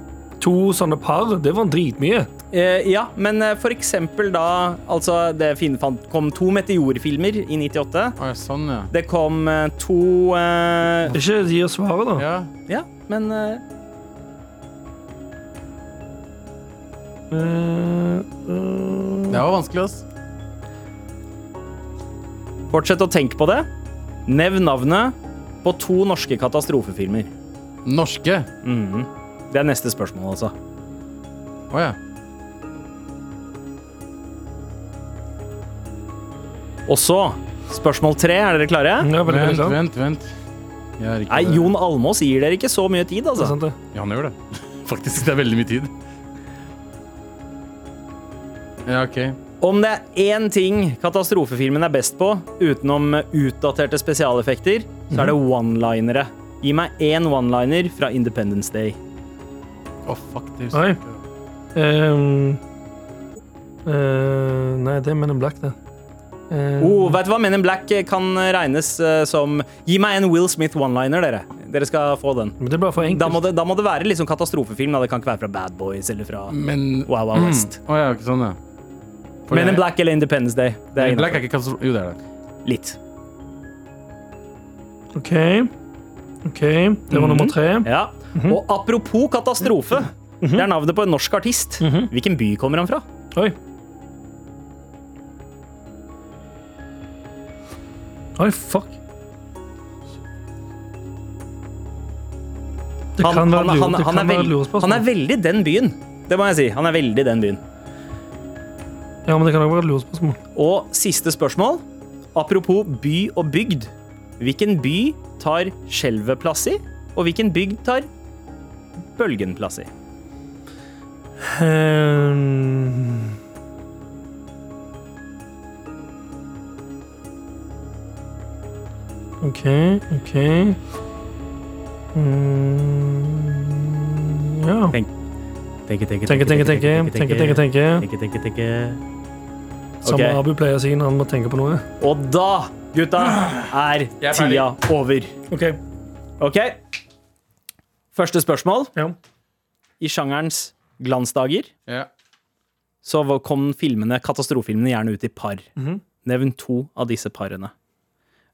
B: To sånne par, det var dritmye.
D: Eh, ja, men eh, for eksempel da Altså, det fin- fant, kom to meteorfilmer i 98.
C: Å ja, sånn, ja.
D: Det kom eh, to eh,
B: Ikke gi oss svaret, da.
C: Ja.
D: Ja, men eh,
B: Eh, eh,
C: Det var vanskelig, ass.
D: fortsett å tenke på det. Nevn navnet på to norske katastrofefilmer.
C: Norske.
D: Mhm. Det er neste spørsmål, altså.
C: Å ja.
D: Og så spørsmål tre. Er dere klare?
B: ja, veldig, veldig
C: Vent,
B: sant.
C: vent, vent. Jeg er ikke
D: Nei,
C: der.
D: Jon Almås gir dere ikke så mye tid,
B: Det er
D: altså.
B: sant, det.
C: Ja, han gjør det. Faktisk, det er veldig mye tid. Ja, ok.
D: Om det er én ting katastrofefilmen er best på, utenom utdaterte spesialeffekter, så er det
C: Mhm.
D: one-linere. Gi meg én one-liner fra Independence Day.
C: Å, fuck,
B: Oi.
C: det husker jeg ikke.
B: Ehm, eh, nei, det er Men in Black, det. Eh,
C: Mhm.
D: Oh, vet du hva? Men in Black kan regnes eh, som Gi meg en Will Smith one-liner, dere. Dere skal få den.
B: Men det er bare for
D: Da må
B: enkelt.
D: det, da må det være liksom katastrofefilm. Da. Det kan ikke være fra Bad Boys eller fra
C: Men Å
D: Wow Wow West.
C: ja, ikke sånn, ja. Mm. For
D: Men in
C: jeg-
D: Black eller Independence Day. Det
C: Men
D: er
C: in Black
D: innenfor.
C: er ikke katastrofe... Jo, det er det.
D: Litt.
B: OK. OK, det var nummer tre.
D: Mhm.
C: Mhm.
D: Ja. Og apropos katastrofe, Det er navnet på en norsk artist.
C: Mhm.
D: Hvilken by kommer han fra?
B: Oi. Oi, fuck. Det
D: Han,
B: kan være
D: han,
B: lure-
D: han,
B: det
D: han,
B: kan
D: er
B: være
D: veld,
B: lurespørsmål.
D: han er veldig den byen. Det må jeg si. Han er veldig den byen.
B: Ja, men det kan også være et lurespørsmål.
D: Og siste spørsmål. Apropos by og bygd. Hvilken by tar skjelvet plass i, og hvilken bygd tar bølgen plass i?
B: Ehm. OK, OK mm, Ja.
D: Tenke, tenke,
B: Tenke, tenke, tenke. tenke, tenke, tenke. Som
D: Ok.
B: Abu pleier å si når han må tenke på noe.
D: Og da, gutta, er
C: Jeg er ferdig.
D: tida over.
B: OK.
D: OK? Første spørsmål.
B: Ja.
D: I sjangerens glansdager
C: Ja.
D: så var- kom filmene, katastrofefilmene gjerne ut i par. Nevn to av disse parene.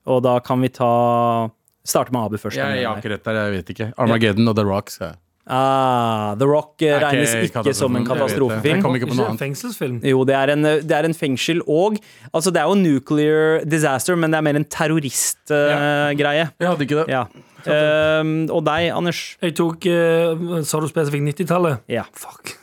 D: Og da kan vi ta Starte med Abu først.
C: Jeg, jeg har
D: Her.
C: ikke rett der, jeg vet ikke. Armageddon og The Rock, sa jeg.
D: Ah, The Rock eh,
C: Er ikke
D: regnes ikke
C: katastrofe-
D: som en
C: Jeg vet det. Jeg
D: katastrofefilm.
C: kom ikke på noe
B: en
C: annet.
B: fengselsfilm.
D: Jo, det er, en, det er en fengsel og Altså, det er jo nuclear disaster, men det er mer en terroristgreie.
C: Jeg hadde ikke det.
D: ja. Ehm, og deg, Anders.
B: Jeg tok eh, Sa du spesifikt 90-tallet?
D: Ja.
B: Fuck.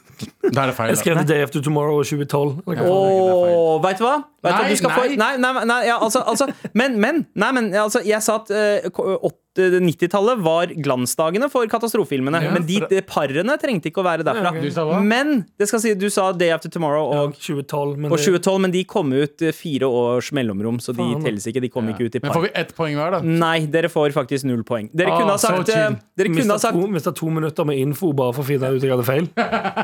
C: Da er det feil.
B: Jeg skrev The Day After Tomorrow 2012. Eller hva?
D: Åh, vet du hva? Vet du
C: Nei,
D: hva du skal få-
C: nei.
D: nei, nei, nei, ja, altså, altså, men, men, nei, men altså, jeg sa at eh, ko- ått- 90-tallet var glansdagene for katastrofefilmene.
C: Ja,
D: men de,
C: for
D: de parene trengte ikke å være derfra.
C: Du sa hva?
D: Men det skal si, du sa Day After Tomorrow
B: Ja,
D: og,
B: 2012, men
D: og
B: det-
D: 2012, men de kom ut eh, fire års mellomrom, så de
B: Faen.
D: telles ikke. De kom ikke ut i Mm.
C: Men får
D: par.
C: vi ett poeng hver, da?
D: Nei, dere får faktisk null poeng. Dere
C: Ah,
D: kunne ha
C: så
D: sagt, eh,
C: chill.
D: dere kunne
B: Mista
D: ha sagt
B: to, mistet to minutter med info bare for å finne ut jeg hadde feil.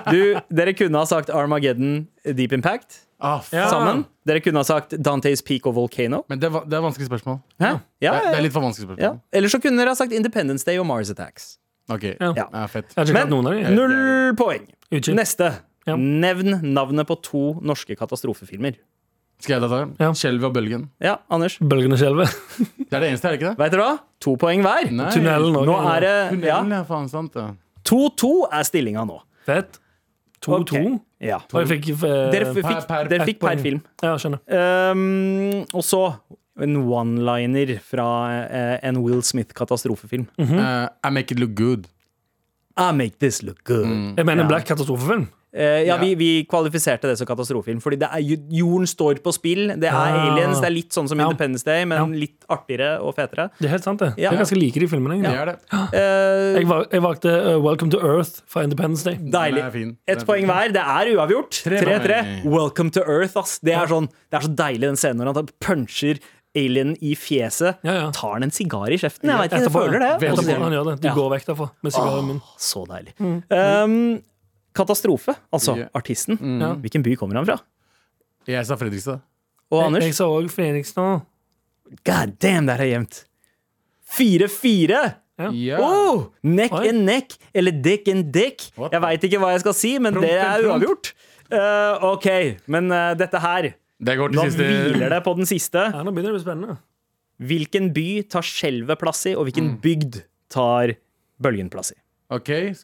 D: du, Dere kunne ha sagt Armageddon Deep Impact
C: Ah, faen.
D: sammen. Dere kunne ha sagt Dantes Peak og Volcano.
C: Men det, er va- det er vanskelig spørsmål.
D: Hæ?
C: Det er,
D: Ja,
C: det
D: ja,
C: er litt for vanskelig
D: ja.
C: spørsmål.
D: Eller så kunne dere ha sagt Independence Day og Mars Attacks.
C: Ok,
B: Ja.
C: ja. fett.
B: Jeg har ikke
D: Men
B: hatt noen av de.
D: null poeng.
B: Unnskyld.
D: Neste.
B: Ja.
D: Nevn navnet på to norske katastrofefilmer.
C: Skal jeg da ta den?
B: Ja.
C: Skjelvet og bølgen.
D: Ja, Anders.
B: Bølgene skjelver.
C: Det er det eneste, er det ikke det?
D: Vet dere hva? To poeng hver.
C: Nei.
B: Tunnelen
D: Nå er det ja,
C: Tunnelen, ja. faen sant. Ja.
D: 2-2 er stillinga nå.
B: Fett. 2-2.
D: Ok. Ja.
B: Og jeg fikk eh,
D: Dere f- fikk
C: per-
D: dere fikk per
B: poeng.
D: film.
B: Ja, skjønner.
D: Um, og så en one-liner fra eh, en Will Smith-katastrofefilm.
B: Mm. Mhm.
C: Eh, I make it look good.
D: I make this look good.
B: Jeg mener
D: Ja.
B: en black katastrofefilm.
D: Eh, ja, vi, vi kvalifiserte det som katastrofefilm, fordi det er, ju- jorden står på spill. Det er
B: Ah.
D: aliens. Det er litt sånn som
B: Ja.
D: Independence Day, men
B: Ja.
D: litt artigere og fetere.
B: Det er helt sant, det.
D: Ja.
B: Jeg er ganske like de filmene,
C: Det
B: egentlig.
C: er det.
D: Eh,
B: Ah. Jeg, val jeg valgte eh, Welcome to Earth fra Independence Day.
D: deilig.
C: Den er fin. Den
D: Ett
C: er
D: poeng
C: fin.
D: hver. Det er uavgjort.
C: poeng.
D: 3-3. Welcome to Earth, ass. Det er, sånn, det er så deilig, den scenen når han puncher alien i fjeset.
B: Ja, ja.
D: Tar han en sigar i kjeften? Jeg vet ikke, jeg
B: Etterpå-
D: føler det. Og så-
B: Etterpå, han gjør det. Du
D: Ja.
B: går vekk derfra med sigar i munnen.
D: Så deilig. Um, katastrofe, altså
C: Ja.
D: artisten.
B: Mm. Ja. Mm.
D: Hvilken by kommer han fra?
C: Jeg sa Fredrikstad.
D: Og
B: Jeg,
D: Anders?
B: jeg sa òg Phoenix nå.
D: God damn, der er jevnt! 4-4!
B: Ja.
C: Ja.
D: Oh, neck
B: Oi.
D: and neck, eller dick and dick.
C: What
D: Jeg veit ikke hva jeg skal si, men det
C: and
D: er
C: prompt.
D: uavgjort. Eh, OK, men eh, dette her
C: Det går
D: Nå
C: til
D: hviler
C: siste.
D: det på den siste.
B: Ja, nå begynner det å bli spennende.
D: Hvilken by tar skjelvet plass i, og hvilken
B: Mm.
D: bygd tar bølgen plass i?
C: Ok.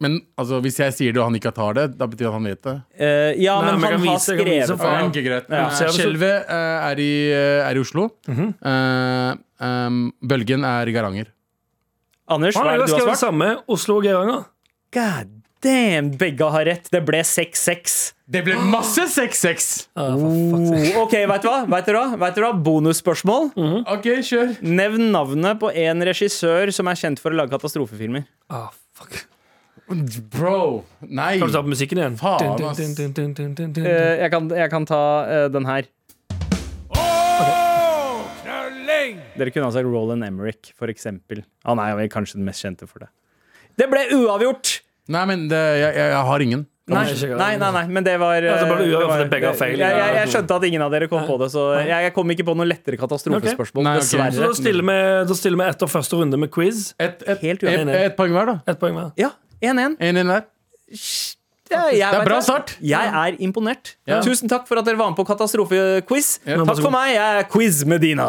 C: Men altså, hvis jeg sier det og han ikke tar det, da betyr det at han vet det.
D: Eh, ja,
B: Nei, men
D: men,
B: jeg
D: han
B: kan
D: har
B: vise- jeg kan vise
D: skrevet
B: for
D: for
B: deg.
D: den.
C: Ok, greit.
D: Ja.
C: Eh, Skjelvet eh, er, i, eh, er i Oslo.
B: Mhm.
C: Eh, um, bølgen er i Garanger.
D: Anders,
B: Han
D: hva
B: har
D: er
B: jo
D: det du har
B: skrevet
D: svart?
B: samme Oslo og Geiranger.
D: God damn, begge har rett. Det ble 6-6.
C: Det ble masse 6-6!
B: Ah,
D: Oh, OK, vet du hva? Vet du hva? Vet du hva? Bonusspørsmål.
B: Mm.
C: Ok, kjør.
D: Nevn navnet på en regissør som er kjent for å lage katastrofefilmer.
B: Ah, fuck.
C: Bro. Nei.
B: Kan du ta på musikken igjen?
C: Faen,
B: Dun, dun,
C: ass.
B: dun, dun, dun, dun, dun, dun.
D: Eh, jeg, kan, jeg kan ta eh, den her. Dere kunne altså ha sagt Roland Emerick, for eksempel. Ah, Han er vel kanskje den mest kjente for det. Det ble uavgjort!
C: Nei, men det, jeg, jeg, jeg har ingen.
D: Nei,
B: ikke gjøre
D: nei, nei, nei, men det var
B: Ja, så ble det
D: eh,
B: uavgjort
D: var-
B: fordi begge har feil.
D: Jeg, jeg, jeg skjønte at ingen av dere kom på det, så jeg, jeg kom ikke på noe lettere
C: Ok.
D: katastrofespørsmål.
C: Nei, ok.
B: Så da
D: Dessverre.
B: stiller, vi, da stiller vi etter første runde med quiz.
C: Ett et,
D: Helt
C: et,
D: uenig.
C: et poeng hver, da.
B: Ett poeng hver.
D: Ja, 1-1.
C: Én inn hver.
D: Ja, jeg,
C: Det er
D: vet
C: bra
D: hva.
C: start.
D: Jeg er imponert.
C: Ja.
D: Tusen takk for at dere var med på katastrofequiz.
C: Ja, vær så
D: takk
B: altså-
D: for
C: god.
D: meg. Jeg er Quiz Medina.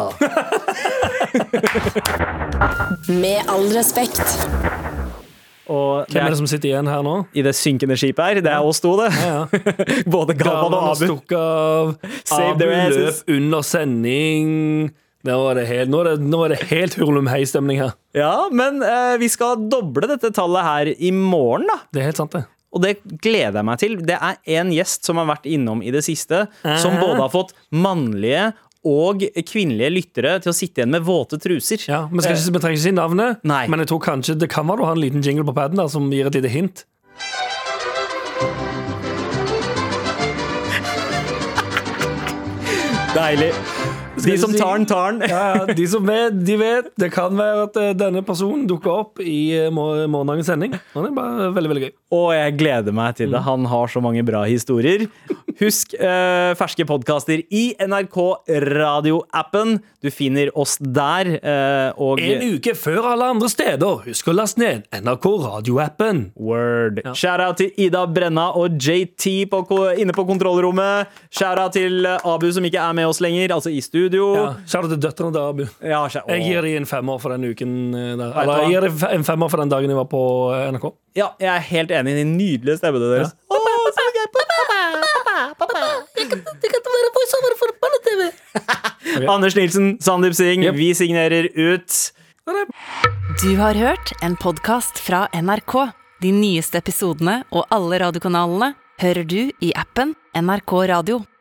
E: Med all respekt.
D: Og det
B: Hvem er
D: er
B: det som sitter igjen her nå?
D: i det synkende skipet her. Det er oss to, det.
B: Ja, ja.
D: Både Galvan og
B: Galvan
D: Abu.
B: stukket av.
D: Save
B: Abu
D: their asses.
B: løp under sending. Nå er det helt, nå er det, nå er det helt hurlumhei-stemning her.
D: Ja, men eh, vi skal doble dette tallet her i morgen, da.
B: Det er helt sant, det.
D: Og det gleder jeg meg til. Det er en gjest som har vært innom i det siste, som
B: Ah.
D: både har fått mannlige og kvinnelige lyttere til å sitte igjen med våte truser.
B: Ja, vi, skal ikke, vi trenger ikke si navnet,
D: Nei.
B: men jeg tror kanskje det kan være du har en liten jingle på paden der som gir et lite hint.
D: Eh, Deilig. De som tar den, tar den.
B: Ja, ja, de som vet, de vet. Det kan være at eh, denne personen dukker opp i eh, må- morgendagens sending. Og det er bare veldig, veldig gøy.
D: Og jeg gleder meg til det.
B: Mm.
D: Han har så mange bra historier. Husk eh, ferske podkaster i NRK radioappen. Du finner oss der. eh, og
B: En uke før alle andre steder, husk å laste ned NRK radioappen.
D: Word. Shout-out til Ida Brenna og JT på, ko- inne på kontrollrommet. Shout-out til eh, Abu, som ikke er med oss lenger, altså i studio.
B: Ja, Kjære til døtrene til Abu.
D: Ja, shout-
B: Jeg
D: Åh.
B: gir dem en femmer for den uken eh, der.
D: du
B: Eller
D: hva?
B: jeg gir dem en femmer for den dagen jeg var på eh, NRK.
D: ja, jeg er helt enig i de nydelige stemmene deres. Åh, så gøy. Anders Nilsen, Sandeep Singh, vi signerer ut.
A: Du har hørt en podkast fra NRK. De nyeste episodene og alle radiokanalene hører du i appen NRK Radio.